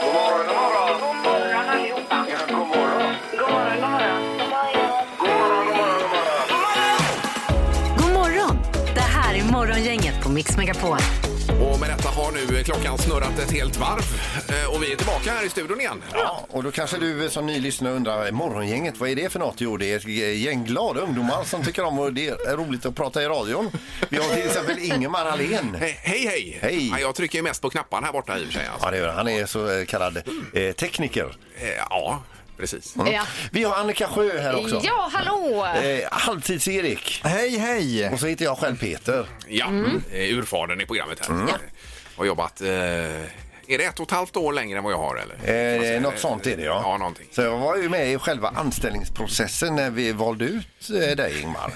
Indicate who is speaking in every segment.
Speaker 1: God morgon, god morgon. God morgon allihopa. Ja, god morgon. God morgon, god morgon. God morgon, god morgon, god morgon.
Speaker 2: God morgon! Det här är Morgongänget på Mix Megapol.
Speaker 3: Och med detta har nu klockan snurrat ett helt varv eh, och vi är tillbaka här i studion igen.
Speaker 4: Ja, och då kanske du som ny lyssnare undrar, morgongänget, vad är det för något? Jo, det är ett gäng glada ungdomar som tycker om och det är roligt att prata i radion. Vi har till exempel Ingemar Ahlén.
Speaker 3: He- Hej, hej!
Speaker 4: Hej.
Speaker 3: Ja, jag trycker ju mest på knapparna här borta i och för sig. Alltså.
Speaker 4: Ja, det gör han. Han är så eh, kallad eh, tekniker.
Speaker 3: Eh, Ja, precis.
Speaker 4: Mm.
Speaker 5: Ja.
Speaker 4: Vi har Annika Sjö här också.
Speaker 5: Ja, hallå!
Speaker 4: Eh, Halvtids-Erik.
Speaker 6: Hej, hej!
Speaker 4: Och så heter jag själv Peter.
Speaker 3: Ja, eh, urfadern i programmet här. Eh, Har jobbat... Eh, är det ett och ett halvt år längre än vad jag har eller? Kan man säga
Speaker 4: Eh, något
Speaker 3: det?
Speaker 4: sånt är det ja.
Speaker 3: Ja, någonting.
Speaker 4: Så jag var ju med i själva anställningsprocessen när vi valde ut eh, dig Ingmar.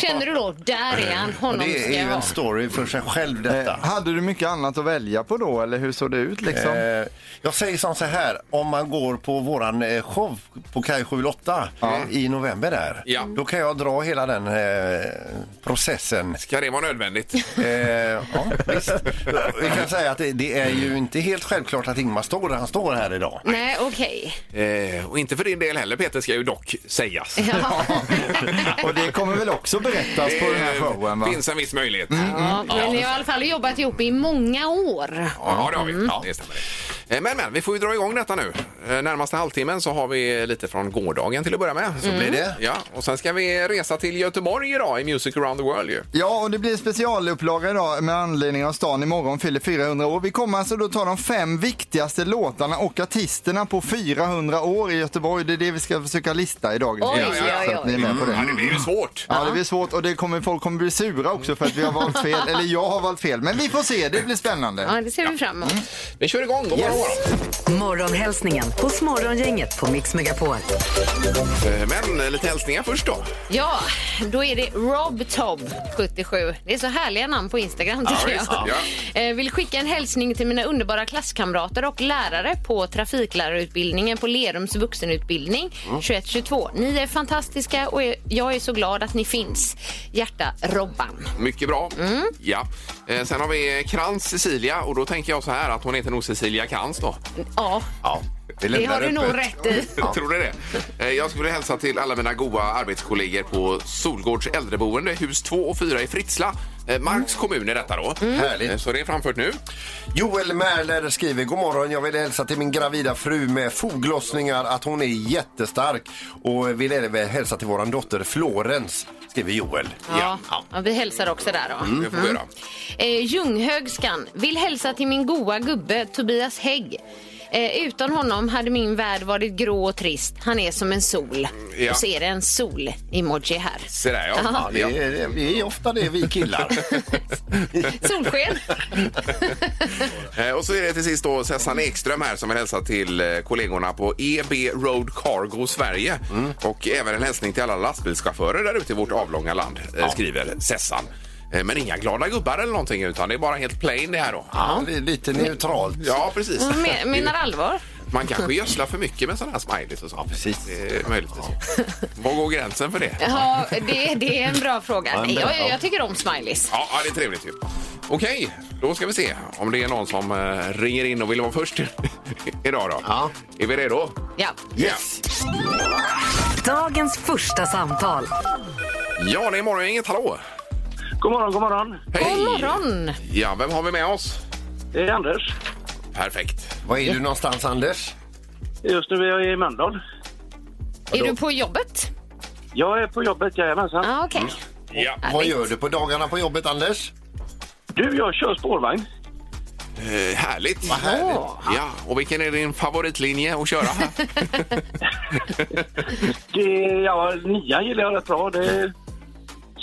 Speaker 5: Känner du då, där är han,
Speaker 4: Och
Speaker 5: honom
Speaker 4: det
Speaker 5: ska
Speaker 4: är
Speaker 5: jag
Speaker 4: ju
Speaker 5: ha.
Speaker 4: en story för sig själv detta.
Speaker 6: Eh, hade du mycket annat att välja på då, eller hur såg det ut liksom?
Speaker 4: Eh, jag säger som så här, om man går på våran eh, show på Kaj 78 i november där,
Speaker 3: Ja.
Speaker 4: då kan jag dra hela den eh, processen.
Speaker 3: Kan det vara nödvändigt?
Speaker 4: Eh, ja, visst. Vi kan säga att det, det är ju inte helt självklart att Ingmar står där han står här idag.
Speaker 5: Nej, okej.
Speaker 3: Eh, och inte för din del heller Peter, ska ju dock sägas.
Speaker 5: Ja.
Speaker 6: Och det kommer väl också berättas på den här showen va?
Speaker 3: Det finns en viss möjlighet.
Speaker 5: Ja, men ni har i alla fall jobbat ihop i många år.
Speaker 3: Ja, det har vi. Ja, det stämmer. Eh, Men, men, vi får ju dra igång detta nu. Eh, Närmaste halvtimmen så har vi lite från gårdagen till att börja med. Så blir
Speaker 4: det.
Speaker 3: Ja, och sen ska vi resa till Göteborg idag i Music around the world ju.
Speaker 6: Ja, och det blir en specialupplaga idag med anledning av stan imorgon fyller 400 år. Vi kommer alltså då ta de fem viktigaste låtarna och artisterna på 400 år i Göteborg. Det är det vi ska försöka lista i dagens
Speaker 5: Oj,
Speaker 6: lista,
Speaker 3: oj, oj, Mm.
Speaker 6: så att ni är med på
Speaker 3: Ja,
Speaker 6: det.
Speaker 3: det blir ju svårt.
Speaker 6: Ja, det blir svårt och det kommer, folk kommer bli sura också för att vi har valt fel, eller jag har valt fel. Men vi får se, det blir spännande.
Speaker 5: Ja, det ser vi fram emot.
Speaker 3: Vi kör igång. God morgon,
Speaker 2: Morgonhälsningen hos Morgongänget på Mix Megapol.
Speaker 3: morgon. Eh, Men eh, lite hälsningar först då.
Speaker 5: Ja, då är det Rob Tob 77. Det är så härliga namn på Instagram tycker
Speaker 3: visst.
Speaker 5: jag. Eh, Vill skicka en hälsning till mina underbara klasskamrater och lärare på trafiklärarutbildningen på Lerums vuxenutbildning 21-22. Ni är fantastiska och är- jag är så glad att ni finns. Hjärta Robban.
Speaker 3: Mycket bra. Ja. Eh, Sen har vi Krantz Cecilia och då tänker jag så här att hon heter nog Cecilia Krantz då.
Speaker 5: Ja,
Speaker 4: Ja,
Speaker 5: det
Speaker 4: lämnar
Speaker 5: har du
Speaker 4: öppet.
Speaker 5: nog rätt i.
Speaker 3: Tror du det? Eh, Jag skulle vilja hälsa till alla mina goa arbetskollegor på Solgårds äldreboende, hus 2 och 4 i Fritsla. Eh, Marks kommun är detta då.
Speaker 5: Mm.
Speaker 4: Härligt.
Speaker 3: Eh, Så det är framfört nu.
Speaker 4: Joel Merler skriver, god morgon, jag vill hälsa till min gravida fru med foglossningar att hon är jättestark och vill även hälsa till våran dotter Florens, skriver Joel.
Speaker 5: Ja. Ja, vi hälsar också där då.
Speaker 3: Det får vi göra.
Speaker 5: Eh, Ljunghögskan vill hälsa till min goa gubbe Tobias Hägg. Eh, utan honom hade min värld varit grå och trist. Han är som en sol.
Speaker 3: ja.
Speaker 5: Och så är det en sol-emoji här.
Speaker 3: Se där ja.
Speaker 4: Ja, det är, det- det är ofta det vi killar.
Speaker 5: Solsken!
Speaker 3: Eh, Och så är det till sist då Sessan Ekström här som vill hälsa till eh, kollegorna på EB Road Cargo Sverige.
Speaker 5: Mm.
Speaker 3: Och även en hälsning till alla lastbilschaufförer där ute i vårt avlånga land, eh, skriver Sessan. Eh, Men inga glada gubbar eller någonting utan det är bara helt plain det här då.
Speaker 4: Ja, det är lite neutralt.
Speaker 3: Ja, precis.
Speaker 5: Hon me- Mm, menar allvar.
Speaker 3: Man kanske gödslar för mycket med sådana här smileys och sånt. Ja,
Speaker 4: precis.
Speaker 3: Möjligtvis. Var går gränsen för det?
Speaker 5: Ja, det, det är en bra fråga.
Speaker 4: men-
Speaker 5: Nej, jag, jag tycker om smileys.
Speaker 3: Ja, ja, det är trevligt ju. Okej, då ska vi se om det är någon som eh, ringer in och vill vara först idag då.
Speaker 4: Ja.
Speaker 3: Är vi redo?
Speaker 5: Ja.
Speaker 3: Yes!
Speaker 2: Dagens första samtal.
Speaker 3: Ja, det är morgon, inget hallå!
Speaker 1: God morgon, god morgon.
Speaker 3: Hej!
Speaker 5: God morgon!
Speaker 3: Ja, vem har vi med oss?
Speaker 1: Det är Anders.
Speaker 3: Perfekt.
Speaker 4: Var är du någonstans Anders?
Speaker 1: Just nu är jag i Mölndal.
Speaker 5: Är du på jobbet?
Speaker 1: Jag är på jobbet, jajamensan.
Speaker 5: Ja, okej.
Speaker 3: Ja.
Speaker 4: Vad gör du på dagarna på jobbet Anders?
Speaker 1: Du, jag kör spårvagn.
Speaker 3: Eh, härligt!
Speaker 4: härligt.
Speaker 5: Åh.
Speaker 3: Ja, och vilken är din favoritlinje att köra?
Speaker 1: Det, ja, nian gillar jag rätt bra. Det är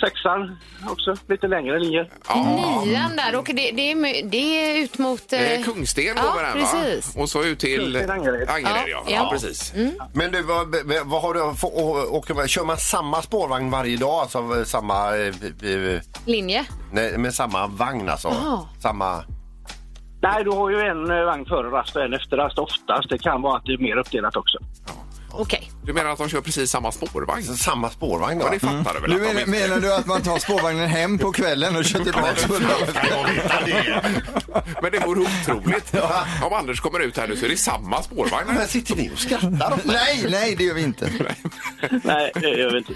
Speaker 1: sexan också. Lite längre linjer.
Speaker 3: ja.
Speaker 5: Nian där, och det, det, är, my- det är ut mot... eh,
Speaker 3: Eh, Kungsten
Speaker 5: ja,
Speaker 3: går med den,
Speaker 5: precis.
Speaker 3: va? Och så ut till
Speaker 1: Kungsten, Angered.
Speaker 3: Angered, ja.
Speaker 5: Ja,
Speaker 3: ja.
Speaker 5: ja.
Speaker 3: precis.
Speaker 4: Men du, vad, vad har du för, och, och, och, kör man samma spårvagn varje dag? Alltså samma, eh, eh,
Speaker 5: Linje.
Speaker 4: nej, med samma vagn alltså?
Speaker 5: Jaha.
Speaker 4: Samma...
Speaker 1: Nej, du har ju en eh, vagn före rast och en efter rast oftast. Det kan vara att det är mer uppdelat också.
Speaker 5: Okej.
Speaker 3: Du menar att de kör precis samma spårvagn?
Speaker 4: Samma spårvagn då?
Speaker 3: Ja, det fattar du väl?
Speaker 6: Mm. Nu
Speaker 3: att de
Speaker 6: menar,
Speaker 3: inte-
Speaker 6: menar du att man tar spårvagnen hem på kvällen och kör tillbaka hundra?
Speaker 3: Men det vore otroligt. Om Anders kommer ut här nu så är det samma spårvagn.
Speaker 4: Men sitter ni och skrattar?
Speaker 6: Nej, nej det gör vi inte.
Speaker 7: Nej, det gör vi inte.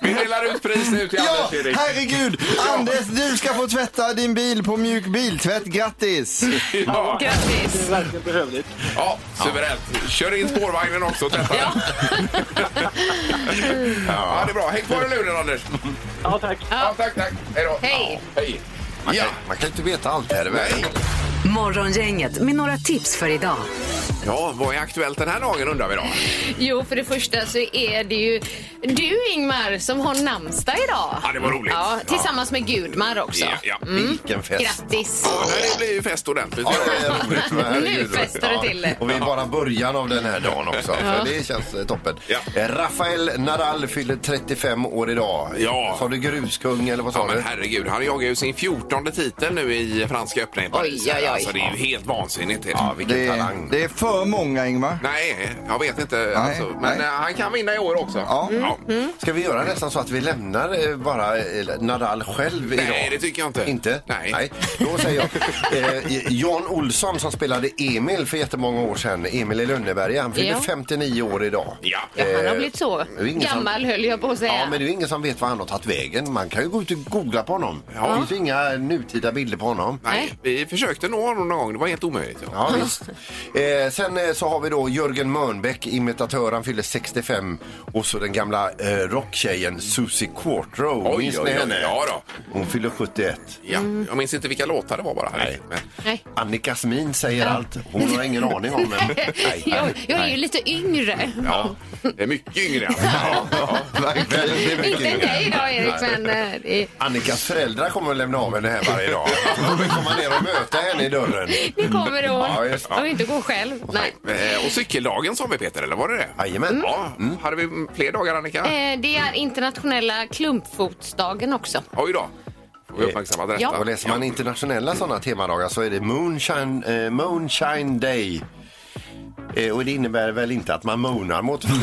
Speaker 3: Vi delar ut pris nu till
Speaker 6: Ja,
Speaker 3: Anders, Erik.
Speaker 6: herregud! Anders, du ska få tvätta din bil på mjuk biltvätt. Grattis!
Speaker 3: Ja,
Speaker 5: Grattis!
Speaker 7: Det är verkligen behövligt.
Speaker 3: ja, suveränt. Kör in spårvagnen också och tvätta den. Ja, det är bra. Häng kvar i luren, Anders.
Speaker 7: Ja, tack.
Speaker 3: Ja, tack, tack. Hej då.
Speaker 5: Hej.
Speaker 3: Ja, hej.
Speaker 4: Ja, man kan ju inte veta allt här i världen.
Speaker 3: Nej.
Speaker 2: Morgongänget med några tips för idag.
Speaker 3: Ja, vad är aktuellt den här dagen undrar vi då?
Speaker 5: Jo, för det första så är det ju du Ingmar som har namnsdag idag.
Speaker 3: Ja, det var roligt.
Speaker 5: Ja, tillsammans med Gudmar också.
Speaker 3: Ja, ja.
Speaker 4: Vilken fest.
Speaker 5: Grattis!
Speaker 3: Ja, det blir ju fest ordentligt.
Speaker 4: Ja, det är roligt, men herregud.
Speaker 5: Nu festar det till.
Speaker 4: Ja, Och vi är bara början av den här dagen också. Så det känns eh, toppen.
Speaker 3: Ja.
Speaker 4: Eh, Rafael Nadal fyller 35 år idag.
Speaker 3: Ja.
Speaker 4: Sa du gruskung eller vad sa
Speaker 3: Ja, men
Speaker 4: du?
Speaker 3: herregud, han jagar ju sin fjortonde titel nu i Franska öppna i Paris.
Speaker 5: Oj, oj, oj.
Speaker 3: Alltså, det är ju helt vansinnigt. Helt.
Speaker 4: Ja, vilken
Speaker 6: Det är,
Speaker 4: talang.
Speaker 6: det är för många, Ingmar.
Speaker 3: Nej, jag vet inte. alltså. Men
Speaker 6: nej.
Speaker 3: eh, han kan vinna i år också.
Speaker 6: Ja.
Speaker 5: Mm,
Speaker 4: Ska vi göra nästan så att vi lämnar eh, bara eh, Nadal själv idag?
Speaker 3: Nej, det tycker jag inte.
Speaker 4: Inte?
Speaker 3: Nej.
Speaker 4: Då säger jag eh, Jan Olsson som spelade Emil för jättemånga år sedan. Emil i Lönneberga. Han fyller
Speaker 5: Ja.
Speaker 4: 59 år idag.
Speaker 3: Ja.
Speaker 5: Ja, han har
Speaker 4: Eh,
Speaker 5: blivit så
Speaker 4: det är ingen som-
Speaker 5: gammal höll jag på att säga.
Speaker 4: Ja, men det är ju ingen som vet var han har tagit vägen. Man kan ju gå ut och googla på honom.
Speaker 3: Ja.
Speaker 4: Det finns ju inga nutida bilder på honom.
Speaker 3: Nej, vi försökte nå honom någon gång. Det var helt omöjligt. Ja.
Speaker 4: Ja, visst. Eh, sen eh, så har vi då Jörgen Mörnbäck, imitatör. Han fyller 65. Och så den gamla eh, rocktjejen Susie Quattro.
Speaker 3: Oj,
Speaker 4: Minns
Speaker 3: oj,
Speaker 4: ni
Speaker 3: oj.
Speaker 4: henne?
Speaker 3: Ja då.
Speaker 4: Hon fyller 71.
Speaker 3: Ja.
Speaker 5: Mm.
Speaker 3: Jag minns inte vilka låtar det var bara. Här. Men,
Speaker 5: Nej.
Speaker 4: Annika Smin säger allt. Hon har ingen aning om vem. Nej.
Speaker 5: Jag, jag är ju lite yngre.
Speaker 3: ja. Det är mycket yngre. alltså. Ja.
Speaker 4: Väldigt mycket
Speaker 5: Inte
Speaker 4: yngre.
Speaker 5: dig då Erik, men eh, det är-
Speaker 4: Annikas föräldrar kommer att lämna av henne här varje dag. Hon kommer komma ner och möta henne i dörren.
Speaker 5: nu kommer
Speaker 4: Ja,
Speaker 5: hon.
Speaker 4: just det.
Speaker 5: Jag vill inte gå själv. Nej.
Speaker 3: Eh, Och cykeldagen sa vi Peter, eller var det det?
Speaker 4: Jajamän.
Speaker 3: Ja.
Speaker 4: Mm.
Speaker 3: Hade vi fler dagar Annika?
Speaker 5: Eh, Det är internationella klumpfotsdagen också.
Speaker 3: Oj då. Får
Speaker 4: Eh.
Speaker 3: vi uppmärksamma detta.
Speaker 5: Ja.
Speaker 4: Och läser man internationella sådana temadagar så är det Moonshine, eh, Moonshine Day. Eh, och det innebär väl inte att man moonar mot att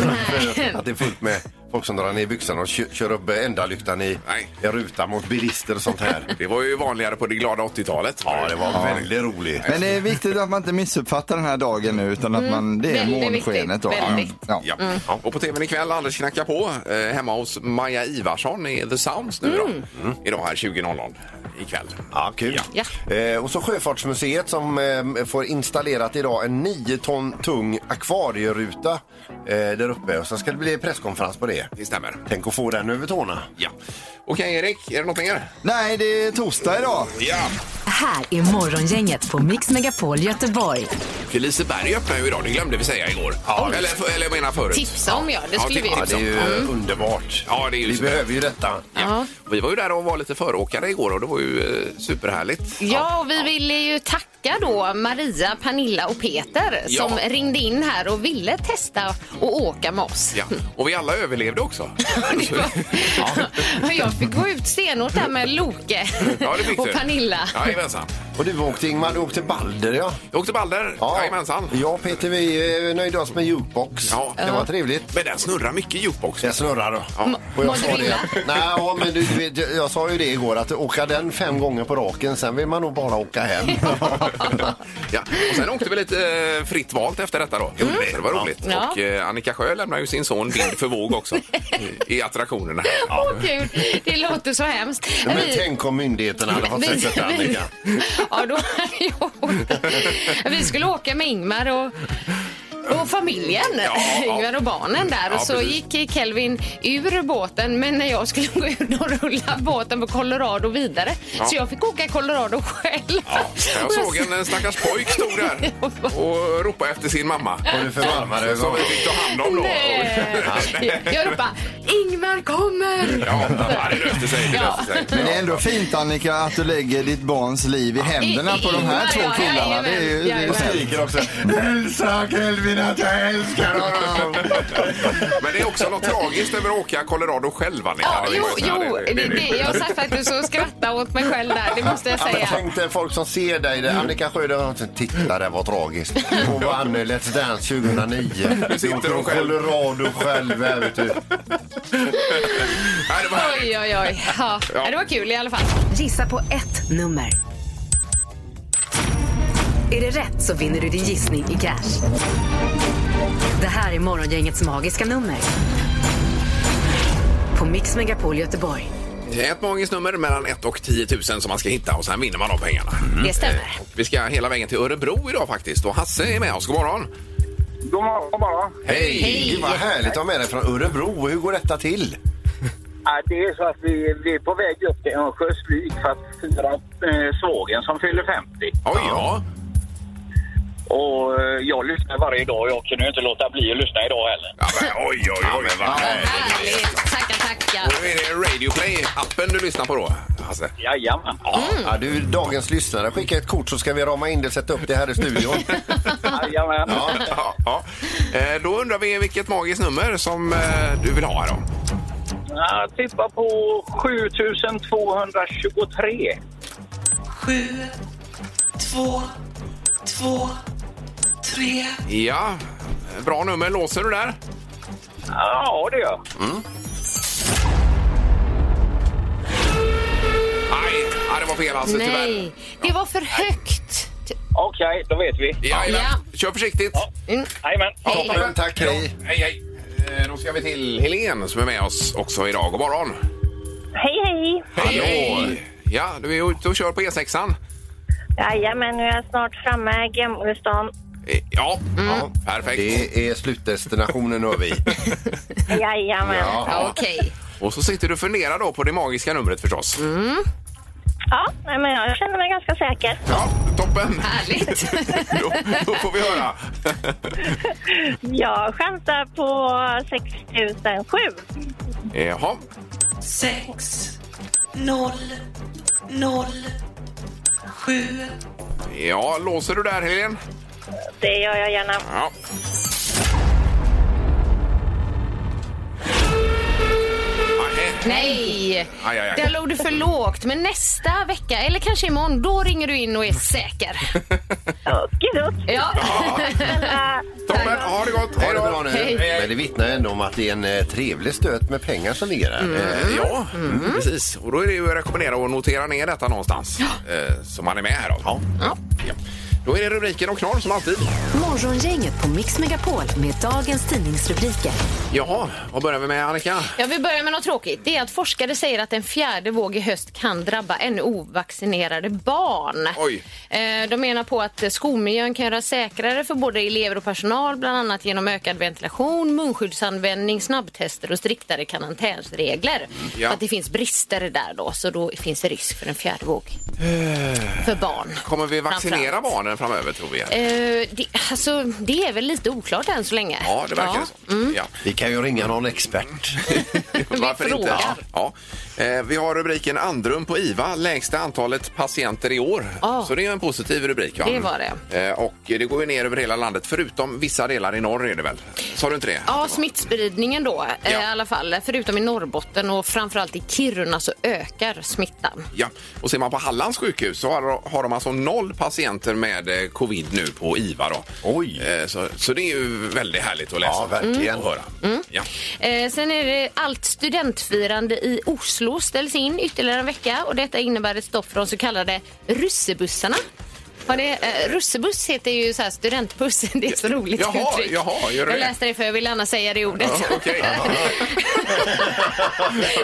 Speaker 4: det är fullt med folk som drar ner byxorna och kö- kör upp eh, ändalyktan i
Speaker 3: Nej.
Speaker 4: en ruta mot bilister och sånt här.
Speaker 3: Det var ju vanligare på det glada 80-talet.
Speaker 4: Ja, det var väldigt roligt.
Speaker 6: Men det är viktigt att man inte missuppfattar den här dagen nu utan att man, det är
Speaker 5: Mm. Väldigt
Speaker 6: månskenet då.
Speaker 5: viktigt, väldigt.
Speaker 6: Ja.
Speaker 3: Ja.
Speaker 5: Mm.
Speaker 3: Och på tvn ikväll, Anders knackar på eh, hemma hos Maja Ivarsson i The Sounds nu
Speaker 5: Mm.
Speaker 3: då. Mm. Idag här 20.00 ikväll.
Speaker 4: Ja, kul.
Speaker 5: Ja.
Speaker 4: Eh, och så Sjöfartsmuseet som eh, får installerat idag en 9 ton tung akvarieruta eh, där uppe. Och sen ska det bli presskonferens på det.
Speaker 3: Det stämmer.
Speaker 4: Tänk att få den över tårna.
Speaker 3: Ja. Okej Erik, är det något mer?
Speaker 6: Nej, det är torsdag idag.
Speaker 3: Ja.
Speaker 2: Här är Morgongänget på Mix Megapol Göteborg.
Speaker 3: Och Liseberg öppnar ju idag, det glömde vi säga igår. Ja, eller, för, eller jag menar förut.
Speaker 5: Tipsa om ja, det skulle vi.
Speaker 3: Ja,
Speaker 4: Ja, det är ju eh, underbart.
Speaker 3: Liksom. Mm. Ja, det är ju
Speaker 4: Vi
Speaker 3: så-
Speaker 4: behöver ju detta.
Speaker 3: Ja. Vi var ju där och var lite föråkare igår och det var ju eh, superhärligt.
Speaker 5: Ja, och vi ville ju tacka då Maria, Pernilla och Peter
Speaker 3: Ja.
Speaker 5: som ringde in här och ville testa och åka med oss.
Speaker 3: Ja. Och vi alla överlevde också.
Speaker 5: Det var- Och Jag fick gå ut stenhårt där med Loke
Speaker 3: Ja, det fick
Speaker 5: och
Speaker 3: du.
Speaker 5: Pernilla.
Speaker 3: Jajamensan.
Speaker 4: Och du åkte Ingmar, du åkte Balder ja.
Speaker 3: Jag åkte Balder. Jajamensan.
Speaker 4: Jag och Peter vi eh, nöjde oss med jukebox.
Speaker 3: Ja.
Speaker 4: Det var trevligt.
Speaker 3: Men den snurrar mycket jukebox.
Speaker 4: Jag snurrar då. Och
Speaker 5: Mådde
Speaker 4: jag, sa
Speaker 5: du
Speaker 4: det.
Speaker 5: illa?
Speaker 4: Nej, ja, men du, vet, jag- jag sa ju det igår att åka den fem gånger på raken, sen vill man nog bara åka hem.
Speaker 3: Ja. Och sen åkte vi lite eh, fritt valt efter detta då. Gjorde vi. Det var roligt.
Speaker 5: Mm. Ja.
Speaker 3: Och eh, Annika Sjö lämnar ju sin son vind för våg också i, i attraktionerna.
Speaker 5: Åh gud, det låter så hemskt.
Speaker 4: Men
Speaker 5: Vi-
Speaker 4: tänk om myndigheterna hade fått sett detta,
Speaker 5: vi,
Speaker 4: Annika.
Speaker 5: ja, då hade jag åkt. Vi skulle åka med Ingmar och och familjen,
Speaker 3: Ja, ja.
Speaker 5: Ingvar och barnen där.
Speaker 3: Ja,
Speaker 5: och så
Speaker 3: precis.
Speaker 5: gick Kelvin ur båten, men när jag skulle gå ur då rullade båten på Colorado vidare. Så jag fick åka Colorado själv.
Speaker 3: Ja. Jag
Speaker 5: Och
Speaker 3: såg en eh, stackars pojk stod där och ropade efter sin mamma.
Speaker 4: Var du förvarmad över
Speaker 3: Som
Speaker 4: honom?
Speaker 3: vi fick ta hand om då.
Speaker 5: Nej. Jag ropade Ingmar kommer!
Speaker 3: Ja, ja, det löste sig. Det
Speaker 5: Ja.
Speaker 3: löste sig.
Speaker 6: Men det är ändå fint Annika att du lägger ditt barns liv i händerna på de här
Speaker 5: Ja,
Speaker 6: två
Speaker 5: ja,
Speaker 6: killarna. Det är ju, det är ju
Speaker 5: jajamän.
Speaker 6: snällt.
Speaker 4: Skriker också. Hälsa Kelvin att jag älskar honom.
Speaker 3: Men det är också något tragiskt över att åka Colorado själv, Annika.
Speaker 5: Ja,
Speaker 3: Det
Speaker 5: jo,
Speaker 3: måste jag säga.
Speaker 5: jo det,
Speaker 3: Det- det- det-
Speaker 5: det, jag satt faktiskt och skrattade åt mig själv där, det måste jag säga.
Speaker 4: Tänk dig folk som ser dig. där. Annika Sjölund, titta det var tragiskt. Hon vann Let's Dance 2009.
Speaker 3: Nu sitter hon själv.
Speaker 4: Colorado själv typ. här ute.
Speaker 3: Nej, det var härligt.
Speaker 5: Oj, oj, oj. Ja. Det var kul i alla fall.
Speaker 2: Gissa på ett nummer. Är det rätt så vinner du din gissning i cash. Det här är Morgongängets magiska nummer. På Mix Megapol Göteborg.
Speaker 3: Det är Ett magiskt nummer mellan 1 och 10 000 som man ska hitta och sen vinner man de pengarna.
Speaker 5: Det stämmer.
Speaker 3: Vi ska hela vägen till Örebro idag faktiskt och Hasse är med oss. God morgon!
Speaker 1: God morgon bara.
Speaker 3: Hej!
Speaker 4: Gud vad härligt att ha med dig från Örebro. Hur går detta till?
Speaker 1: Ja, det är så att vi, vi är på väg upp till Örnsköldsvik för att fira eh, svågen som fyller 50.
Speaker 3: Oj, ja.
Speaker 1: Och eh, jag lyssnar varje dag och jag kunde ju inte låta bli att lyssna idag heller.
Speaker 3: ja men, oj, oj, oj. vad härligt.
Speaker 5: Härligt. Tackar, tackar.
Speaker 3: Och är det Radio Play-appen du lyssnar på då, Hasse?
Speaker 1: Jajamän.
Speaker 4: Ja, du är dagens lyssnare. Skicka ett kort så ska vi rama in det och sätta upp det här i studion.
Speaker 1: Jajamän.
Speaker 3: Ja. ja, ja. Eh, Då undrar vi vilket magiskt nummer som eh, du vill ha. Då.
Speaker 1: Jag tippar på 7223.
Speaker 3: Ja, bra nummer. Låser du där?
Speaker 1: Ja, det gör jag.
Speaker 3: Nej, ja, det var fel alltså tyvärr.
Speaker 5: Nej, det var för högt.
Speaker 1: Okej, då vet vi.
Speaker 3: Ja,
Speaker 5: Ja.
Speaker 3: Kör försiktigt.
Speaker 1: Jajamän.
Speaker 4: Toppen, tack, hej.
Speaker 3: Hej, hej. Eh, Då ska vi till Helen som är med oss också idag. God morgon.
Speaker 8: Hej, hej!
Speaker 3: Hallå. Ja, du är ute och kör på E E6an.
Speaker 8: Jajamän, nu är jag snart framme i Gamlestan.
Speaker 3: Eh, Ja, ja perfekt.
Speaker 4: Det är slutdestinationen nu är vi.
Speaker 8: Jajamän. Ja.
Speaker 5: Ja, Okej.
Speaker 3: Och så sitter du och funderar då på det magiska numret förstås.
Speaker 8: nej, men jag känner mig ganska säker.
Speaker 3: Ja, toppen.
Speaker 5: Härligt.
Speaker 3: Då, då får vi höra.
Speaker 8: Jag chansar på 6007.
Speaker 3: Jaha. Ja, låser du där, Helen?
Speaker 8: Det gör jag gärna.
Speaker 3: Ja. Aj,
Speaker 5: Nej,
Speaker 3: aj, aj.
Speaker 5: där låg du för lågt. Men nästa vecka, eller kanske imorgon, då ringer du in och är säker.
Speaker 8: Okidok.
Speaker 5: Ja,
Speaker 8: Snälla.
Speaker 3: Toppen, ha det gott.
Speaker 4: Ha det bra nu.
Speaker 5: Hej.
Speaker 4: Men det vittnar ändå om att det är en eh, trevlig stöt med pengar som ligger där. Eh,
Speaker 3: Eh, Ja, precis. Och då är det ju att rekommendera att notera ner detta någonstans. eh, Så man är med här då. Ja. Ja. Då är det rubriken och knorr som alltid.
Speaker 2: Morgongänget på Mix Megapol med dagens tidningsrubriker.
Speaker 3: Jaha, vad börjar vi med Annika?
Speaker 5: jag vill börja med något tråkigt. Det är att forskare säger att en fjärde våg i höst kan drabba ännu ovaccinerade barn.
Speaker 3: Oj.
Speaker 5: Eh, De menar på att skolmiljön kan göras säkrare för både elever och personal, bland annat genom ökad ventilation, munskyddsanvändning, snabbtester och striktare karantänsregler.
Speaker 3: Mm, Ja.
Speaker 5: För att det finns brister där då, så då finns det risk för en fjärde våg
Speaker 3: Eh.
Speaker 5: för barn.
Speaker 3: Kommer vi vaccinera
Speaker 5: Framförallt.
Speaker 3: barnen framöver tror vi?
Speaker 5: Eh, det, alltså, det är väl lite oklart än så länge.
Speaker 3: Ja, det verkar så.
Speaker 5: Mm.
Speaker 3: Ja.
Speaker 4: Vi kan ju ringa någon expert.
Speaker 3: Varför inte?
Speaker 5: frågar.
Speaker 3: Ja. Eh, Vi har rubriken Andrum på IVA, lägsta antalet patienter i år.
Speaker 5: Ja.
Speaker 3: Så det är ju en positiv rubrik. Va?
Speaker 5: Det var
Speaker 3: det. Och det går ju ner över hela landet, förutom vissa delar i norr är det väl? Sa du inte det?
Speaker 5: Ja, smittspridningen då eh,
Speaker 3: Ja.
Speaker 5: i alla fall. Förutom i Norrbotten och framförallt i Kiruna så ökar smittan.
Speaker 3: Ja, och ser man på Hallands sjukhus så har, har de alltså noll patienter med eh, covid nu på IVA. Då.
Speaker 4: Oj.
Speaker 3: Eh, Så, så det är ju väldigt härligt att läsa
Speaker 4: Ja, verkligen.
Speaker 3: och höra. Ja.
Speaker 5: Eh, sen är det allt studentfirande i Oslo ställs in ytterligare en vecka och detta innebär ett stopp för de så kallade russebussarna. Har det, eh, russebuss heter ju så här studentbuss. Det är ett så roligt
Speaker 3: Jaha,
Speaker 5: uttryck.
Speaker 3: jaha, gör det
Speaker 5: jag
Speaker 3: det?
Speaker 5: läste det för jag ville gärna säga det ordet.
Speaker 3: Ja, okej.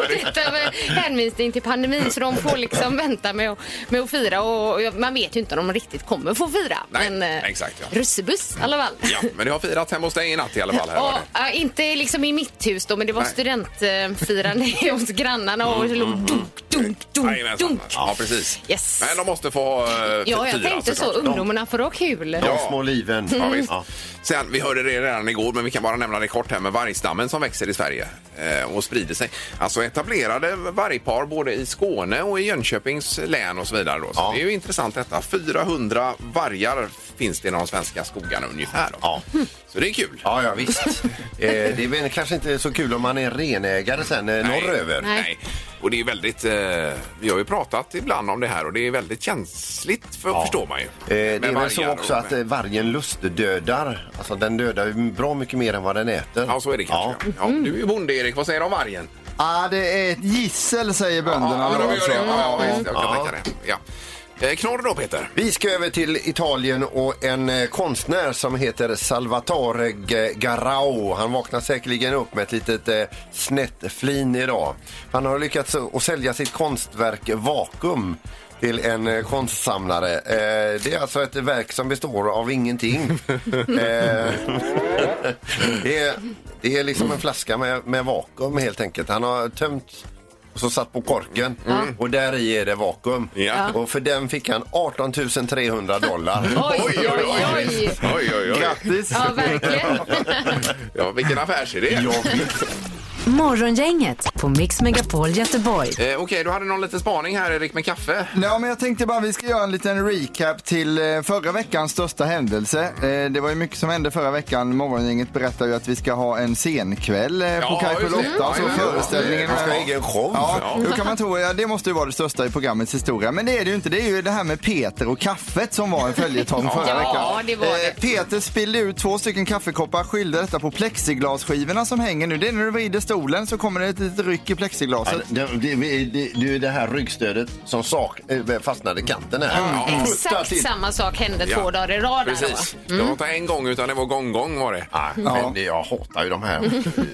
Speaker 5: Detta med hänvisning till pandemin så de får liksom vänta med att, med att fira och jag- man vet ju inte om de riktigt kommer få fira.
Speaker 3: Nej,
Speaker 5: men eh,
Speaker 3: exakt, ja.
Speaker 5: russebuss i alla fall.
Speaker 3: ja, men det har firat hemma hos dig i natt i alla fall. Här var
Speaker 5: Ja,
Speaker 3: det.
Speaker 5: ja, inte liksom i mitt hus då, men det var
Speaker 3: Nej. Mm,
Speaker 5: studentfirande hos grannarna och det låg dunk, dunk, dunk,
Speaker 3: Jajamensan.
Speaker 5: dunk.
Speaker 3: Ja, precis.
Speaker 5: Yes.
Speaker 3: Men de måste få eh,
Speaker 5: Ja, jag
Speaker 3: fira
Speaker 5: tänkte lite så ungdomarna får ha kul.
Speaker 4: De små liven.
Speaker 3: Ja, visst.
Speaker 4: Ja.
Speaker 3: Sen, vi hörde det redan igår, men vi kan bara nämna det kort här med vargstammen som växer i Sverige eh, och sprider sig. Alltså etablerade vargpar både i Skåne och i Jönköpings län och så vidare. Då. Så
Speaker 4: Ja.
Speaker 3: Det är ju intressant detta. 400 vargar finns det i de svenska skogarna ungefär. Då.
Speaker 4: Ja.
Speaker 3: Så det är kul.
Speaker 4: Ja, ja visst. eh, det är väl kanske inte så kul om man är renägare sen eh,
Speaker 3: Nej.
Speaker 4: norröver.
Speaker 5: Nej.
Speaker 3: Nej. Och det är väldigt, eh, vi har ju pratat ibland om det här och det är väldigt känsligt för, förstår man ju.
Speaker 4: Eh,
Speaker 3: Med
Speaker 4: det är väl så
Speaker 3: vargar
Speaker 4: också
Speaker 3: och-
Speaker 4: att eh, vargen lustdödar. Alltså den dödar ju bra mycket mer än vad den äter.
Speaker 3: Ja, så är det kanske. Ja. Ja. Du är ju bonde, Erik. Vad säger du om vargen?
Speaker 6: Ah, det är ett gissel säger bönderna.
Speaker 3: ja,
Speaker 6: då,
Speaker 3: men de gör
Speaker 6: alltså.
Speaker 3: det. Ja, ja, visst. Jag kan
Speaker 4: Ja.
Speaker 3: tänka det. Ja. Eh, Knorr då, Peter?
Speaker 4: Vi ska över till Italien och en eh, konstnär som heter Salvatore G- Garau. Han vaknar säkerligen upp med ett litet eh, snett flin idag. Han har lyckats att sälja sitt konstverk Vakuum till en eh, konstsamlare. Eh, det är alltså ett verk som består av ingenting. eh, det, är, det är liksom en flaska med, med vakuum helt enkelt. Han har tömt och så satt på korken och där i är det vakuum.
Speaker 3: Ja.
Speaker 4: Och för den fick han 18 300 dollar.
Speaker 5: Oj, oj, oj. oj.
Speaker 3: oj, oj, oj.
Speaker 6: Grattis!
Speaker 5: Ja, verkligen.
Speaker 3: Ja, vilken affärsidé. Ja.
Speaker 2: Morgongänget på Mix Megapol Göteborg.
Speaker 3: Eh, Okej, du hade någon liten spaning här, Erik, med kaffe.
Speaker 6: Ja, men jag tänkte bara vi ska göra en liten recap till eh, förra veckans största händelse. Eh, Det var ju mycket som hände förra veckan. Morgongänget berättar ju att vi ska ha en scenkväll eh, på
Speaker 3: Ja,
Speaker 6: Kajpor
Speaker 3: just det.
Speaker 6: Lotta. Så
Speaker 3: Ja, ja, ja.
Speaker 6: föreställningen...
Speaker 4: Han ska ha egen show.
Speaker 6: Ja, då kan man tro, ja, det måste ju vara det största i programmets historia. Men det är det ju inte. Det är ju det här med Peter och kaffet som var en följetong förra
Speaker 5: Ja,
Speaker 6: veckan.
Speaker 5: det var det.
Speaker 6: Eh, Peter spillde ut två stycken kaffekoppar, skyllde detta på plexiglasskivorna som hänger nu. Det är när du vrider stolen så kommer det ett litet ryck i plexiglaset.
Speaker 4: Det, det, det, det, det är det här ryggstödet som sak, eh, fastnade i kanten här.
Speaker 3: Ja.
Speaker 4: Puttar
Speaker 5: Exakt
Speaker 4: till.
Speaker 5: samma sak hände
Speaker 3: Ja.
Speaker 5: två dagar i rad. där,
Speaker 3: Precis.
Speaker 5: va?
Speaker 3: Det var inte en gång, utan det var gång-gång var det.
Speaker 4: Nej, men det- jag hatar ju de här.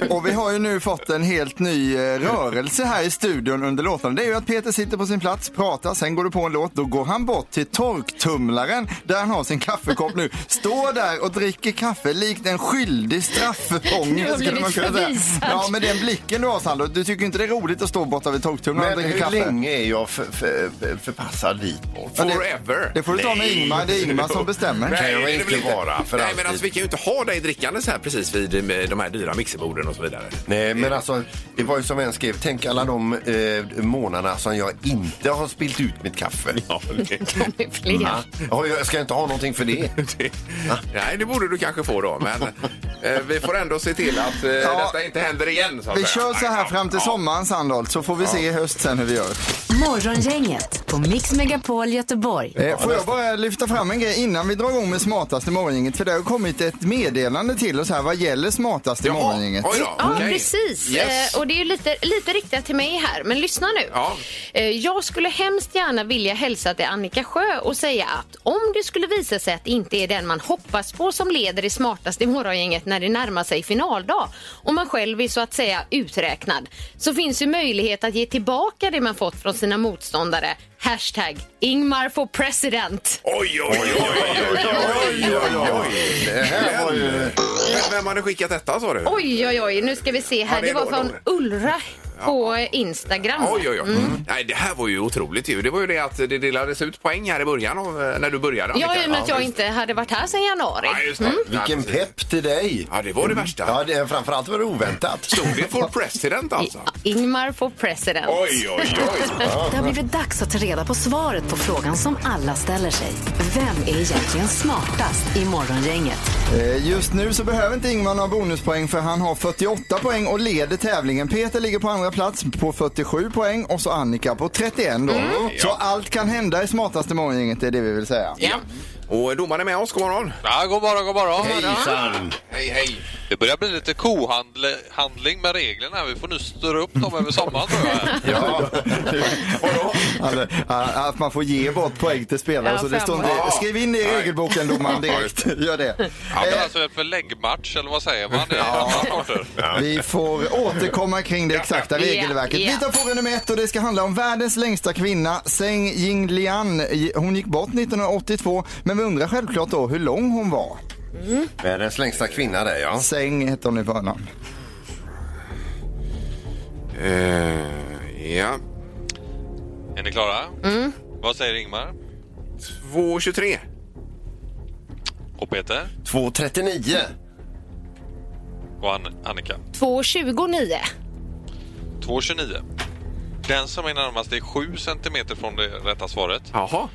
Speaker 6: Och vi har ju nu fått en helt ny eh, rörelse här i studion under låtarna. Det är ju att Peter sitter på sin plats, pratar, sen går det på en låt. Då går han bort till torktumlaren där han har sin kaffekopp nu. Står där och dricker kaffe likt en skyldig
Speaker 5: Du
Speaker 6: straffånge
Speaker 5: har
Speaker 6: skulle man kunna säga.
Speaker 5: blivit förvisad.
Speaker 6: Ja, med den blicken du har Sandro. Du tycker inte det är roligt att stå borta vid torktumlaren
Speaker 4: Men
Speaker 6: och dricka
Speaker 4: hur
Speaker 6: kaffe?
Speaker 4: länge är jag för, för, förpassad dit bort?
Speaker 6: det-
Speaker 3: Forever.
Speaker 6: Det får du ta med
Speaker 4: Nej.
Speaker 6: Ingmar. Det är Ingmar som bestämmer.
Speaker 4: kan jag
Speaker 3: det är
Speaker 4: inte
Speaker 3: väl
Speaker 4: vara för
Speaker 3: Nej,
Speaker 4: alltid.
Speaker 3: men alltså, vi kan ju inte ha dig drickandes här precis vid eh, de här dyra mixerborden och så vidare.
Speaker 4: Nej, men alltså, det var ju som en skrev. Tänk alla de eh, månaderna som jag inte har spilt ut mitt kaffe.
Speaker 3: Ja, det-
Speaker 5: De är
Speaker 3: Mm.
Speaker 5: fler.
Speaker 4: Ja, jag- jag ska inte ha någonting för det.
Speaker 3: det- Nej, det borde du kanske få då, men eh, vi får ändå se till att eh,
Speaker 6: Ja.
Speaker 3: detta inte händer igen. Så att
Speaker 6: Vi
Speaker 3: säga.
Speaker 6: kör så här
Speaker 3: Ja,
Speaker 6: fram till
Speaker 3: ja.
Speaker 6: sommaren Sandholt så får vi se i höst sen hur vi gör.
Speaker 2: Morgongänget på Mix Megapol Göteborg.
Speaker 6: Eh, Får jag bara lyfta fram en grej innan vi drar igång med smartaste morgongänget? För det har kommit ett meddelande till oss här vad gäller smartaste
Speaker 3: Jaha.
Speaker 6: morgongänget.
Speaker 3: Oj då,
Speaker 5: Ja,
Speaker 3: okej.
Speaker 5: precis.
Speaker 3: Yes.
Speaker 5: Eh, och det är ju lite, lite riktat till mig här, men lyssna nu.
Speaker 3: Ja.
Speaker 5: Eh, jag skulle hemskt gärna vilja hälsa till Annika Sjö och säga att om det skulle visa sig att det inte är den man hoppas på som leder i smartaste morgongänget när det närmar sig finaldag och man själv är så att säga uträknad så finns ju möjlighet att ge tillbaka det man fått från sina motståndare. Hashtag Ingmar for president.
Speaker 3: Oj, oj, oj, oj, oj, oj, oj, oj.
Speaker 4: Det här var ju...
Speaker 3: Vem- Vem hade skickat detta sa du?
Speaker 5: Oj, oj, oj, nu ska vi se här.
Speaker 3: Ja, det
Speaker 5: det,
Speaker 3: är
Speaker 5: var
Speaker 3: då-
Speaker 5: från
Speaker 3: då-
Speaker 5: Ulra på Instagram.
Speaker 3: Oj, oj, oj.
Speaker 5: Mm.
Speaker 3: Nej, det här var ju otroligt ju. Det var ju det att det delades ut poäng här i början av, eh, när du började.
Speaker 5: Ja,
Speaker 3: Annika.
Speaker 5: i och med att jag
Speaker 3: just-
Speaker 5: inte Mm. hade varit här sedan januari.
Speaker 3: Ja, just det. Ja,
Speaker 4: Vilken
Speaker 3: precis.
Speaker 4: pepp till dig!
Speaker 3: Ja, det var det värsta.
Speaker 4: Mm. Ja, det, framförallt var det oväntat.
Speaker 3: Stod det for president alltså?
Speaker 5: Ingmar for president.
Speaker 3: Oj, oj, oj.
Speaker 2: Det har blivit dags att ta reda på svaret på frågan som alla ställer sig. Vem är egentligen smartast i Morgongänget?
Speaker 6: Eh, Just nu så behöver inte Ingmar några bonuspoäng för han har 48 poäng och leder tävlingen. Peter ligger på andra plats på 47 poäng och så Annika på 31 då.
Speaker 3: Mm.
Speaker 6: Så allt kan hända i smartaste morgongänget, det är det vi vill säga.
Speaker 5: Ja.
Speaker 3: Och domaren är med oss. God morgon.
Speaker 9: Ja, god morgon, god morgon.
Speaker 4: Hejsan!
Speaker 3: Hej, hej.
Speaker 9: Det börjar bli lite kohandling med reglerna. Vi får nu störa upp dem över sommaren tror jag.
Speaker 4: Ja,
Speaker 6: Alltså, eh, att man får ge bort poäng till spelare.
Speaker 5: Ja,
Speaker 6: så det står inte,
Speaker 3: fem.
Speaker 6: skriv in det i regelboken domaren direkt. Gör det.
Speaker 9: Det
Speaker 6: Eh,
Speaker 9: är alltså ett förläggmatch eller vad säger man? Det är andra arter.
Speaker 6: Vi får återkomma kring det exakta
Speaker 5: Ja,
Speaker 6: regelverket.
Speaker 5: ja.
Speaker 6: Vi tar fråga nummer ett och det ska handla om världens längsta kvinna, Zeng Jinglian. Hon gick bort 1982, men vi undrar självklart då hur lång hon var.
Speaker 4: världens längsta kvinna där ja.
Speaker 6: Zeng hette hon i förnamn.
Speaker 3: Eh, ja.
Speaker 9: Är ni klara? Vad säger Ingmar?
Speaker 3: 2.23.
Speaker 9: Och Peter
Speaker 4: 2.39.
Speaker 9: och An- Annika.
Speaker 5: 2,29.
Speaker 9: 2.29. Den som är närmast är 7 cm från det rätta svaret.
Speaker 3: Jaha.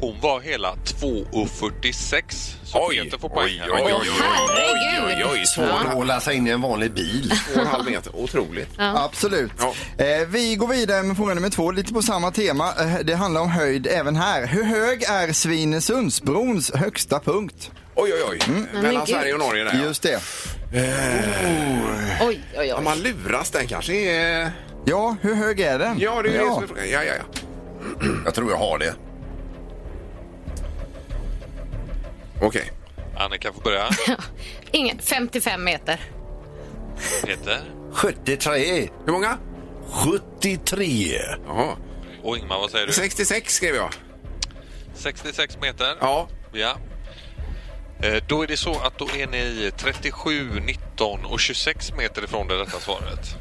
Speaker 9: Hon var hela 2,46. Så
Speaker 3: Oj,
Speaker 9: Peter får poäng. här.
Speaker 3: oj, oj, oj.
Speaker 5: Herregud!
Speaker 3: Oj,
Speaker 4: Svårt att hålla sig in i en vanlig bil.
Speaker 3: två och en halv meter. Otroligt.
Speaker 6: Absolut.
Speaker 3: Ja.
Speaker 6: Eh, vi går vidare med fråga nummer två, lite på samma tema. Eh, det handlar om höjd även här. Hur hög är Svinesundsbrons högsta punkt?
Speaker 3: Oj, oj, oj.
Speaker 4: Mm.
Speaker 5: men
Speaker 3: Mellan
Speaker 5: gud.
Speaker 3: Sverige och Norge där. ja.
Speaker 6: Just det.
Speaker 5: Oj, oj,
Speaker 3: Ja,
Speaker 5: oj.
Speaker 3: Oh, man luras. Den kanske är...
Speaker 6: Ja, hur hög är den?
Speaker 3: Ja, det är det som är frågan. Ja, ja, ja.
Speaker 4: Jag tror jag har det.
Speaker 3: Okej.
Speaker 9: Annika får börja.
Speaker 5: Ingen, 55 meter.
Speaker 9: Peter
Speaker 4: 73.
Speaker 3: Hur många?
Speaker 4: 73.
Speaker 3: Jaha.
Speaker 9: och Ingmar, vad säger du?
Speaker 3: 66 skrev jag.
Speaker 9: 66 meter.
Speaker 3: Ja.
Speaker 9: Ja. Eh, Då är det så att då är ni 37, 19 och 26 meter ifrån det rätta svaret.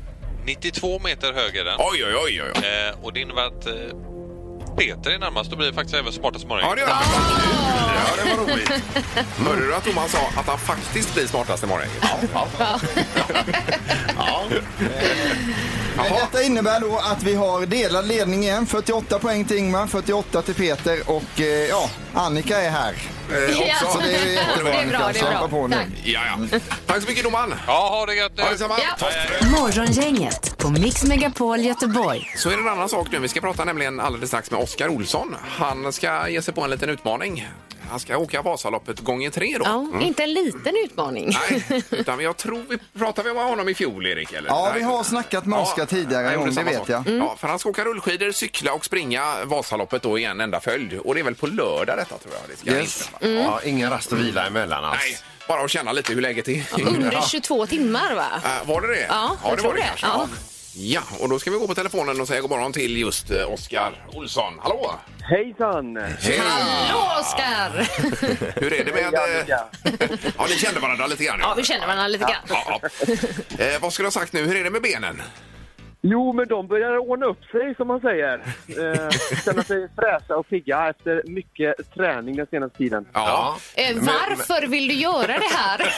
Speaker 9: 92 meter hög är den.
Speaker 3: Oj, oj, oj, oj. oj.
Speaker 9: Eh, Och det innebär att eh, Peter är närmast. Då blir det faktiskt även smartast morgon.
Speaker 3: Ja, det gör han. Ja, det var roligt. Hörde du att Thomas sa att han faktiskt blir smartast imorgon? Ja. ja.
Speaker 6: Men Detta innebär då att vi har delad ledning igen. 48 poäng till Ingmar, 48 till Peter och eh, ja, Annika är här.
Speaker 3: Eh, också.
Speaker 6: Så det är jättebra
Speaker 5: Det är
Speaker 6: Annika,
Speaker 5: bra, det är bra.
Speaker 6: kämpa på nu.
Speaker 5: Tack.
Speaker 3: Ja, ja. Tack så mycket domaren.
Speaker 9: Ja, ha det gött nu!
Speaker 3: Ha detsamma.
Speaker 2: Morgongänget på Mix Megapol Göteborg.
Speaker 3: Så är det en annan sak nu. Vi ska prata nämligen alldeles strax med Oskar Olsson. Han ska ge sig på en liten utmaning. Han ska åka Vasaloppet gånger tre då.
Speaker 5: Ja, Mm. inte en liten utmaning.
Speaker 3: Nej, utan jag tror vi pratade vi med honom i fjol, Erik? Eller?
Speaker 6: Ja,
Speaker 3: Nej.
Speaker 6: vi har snackat med Oskar tidigare
Speaker 3: jag gjorde
Speaker 6: om det
Speaker 3: samma
Speaker 6: vet
Speaker 3: sak.
Speaker 6: jag.
Speaker 3: Ja, för han ska åka rullskidor, cykla och springa Vasaloppet då i en enda följd. Och det är väl på lördag detta tror jag. Det ska
Speaker 6: Yes.
Speaker 3: inträffa.
Speaker 4: Ja, ingen rast och vila emellan alltså. alls.
Speaker 3: Nej, bara att känna lite hur läget är.
Speaker 5: Under 22 timmar, va?
Speaker 3: Äh, var det det?
Speaker 5: Ja,
Speaker 3: det
Speaker 5: jag tror
Speaker 3: var det.
Speaker 5: det.
Speaker 3: kanske.
Speaker 5: Ja.
Speaker 3: Ja, och då ska vi gå på telefonen och säga god morgon till just eh, Oskar Olsson. Hallå!
Speaker 7: Hejsan!
Speaker 3: Hej!
Speaker 5: Hallå, Oskar!
Speaker 3: Hur är det med...
Speaker 7: Hej, Annika.
Speaker 3: eh, ja, ni kände varandra lite grann.
Speaker 5: Ja, vi känner varandra lite grann.
Speaker 3: Ja, ja. Eh, vad skulle du ha sagt nu? Hur är det med benen?
Speaker 7: Jo, men de börjar ordna upp sig som man säger. Eh, känna sig fräscha och pigga efter mycket träning den senaste tiden.
Speaker 3: Ja.
Speaker 5: Eh,
Speaker 4: Men-
Speaker 5: Varför vill du göra det här?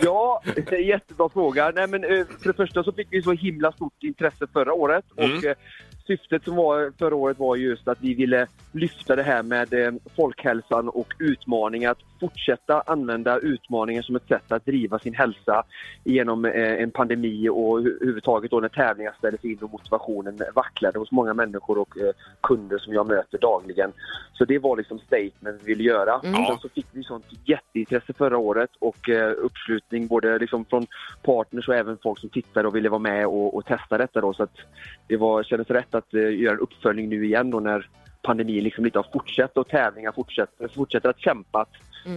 Speaker 7: Ja, det är en jättebra fråga. Nej, men, eh, för det första så fick vi så himla stort intresse förra året.
Speaker 9: Mm.
Speaker 7: Och, eh, syftet som var förra året var just att vi ville lyfta det här med eh, folkhälsan och utmaningar. Att fortsätta använda utmaningar som ett sätt att driva sin hälsa genom eh, en pandemi och hu- överhuvudtaget då när tävlingar ställdes in och motivationen vacklade hos många människor och eh, kunder som jag möter dagligen. Så det var liksom statement vi ville göra.
Speaker 5: Mm.
Speaker 7: Sen så fick vi sånt jätteintresse förra året och eh, uppslutning både liksom från partners och även folk som tittade och ville vara med och, och testa detta då. Så att det var, kändes rätt att eh, göra en uppföljning nu igen då när pandemin liksom lite har fortsatt och tävlingar fortsätter, fortsätter att kämpa att,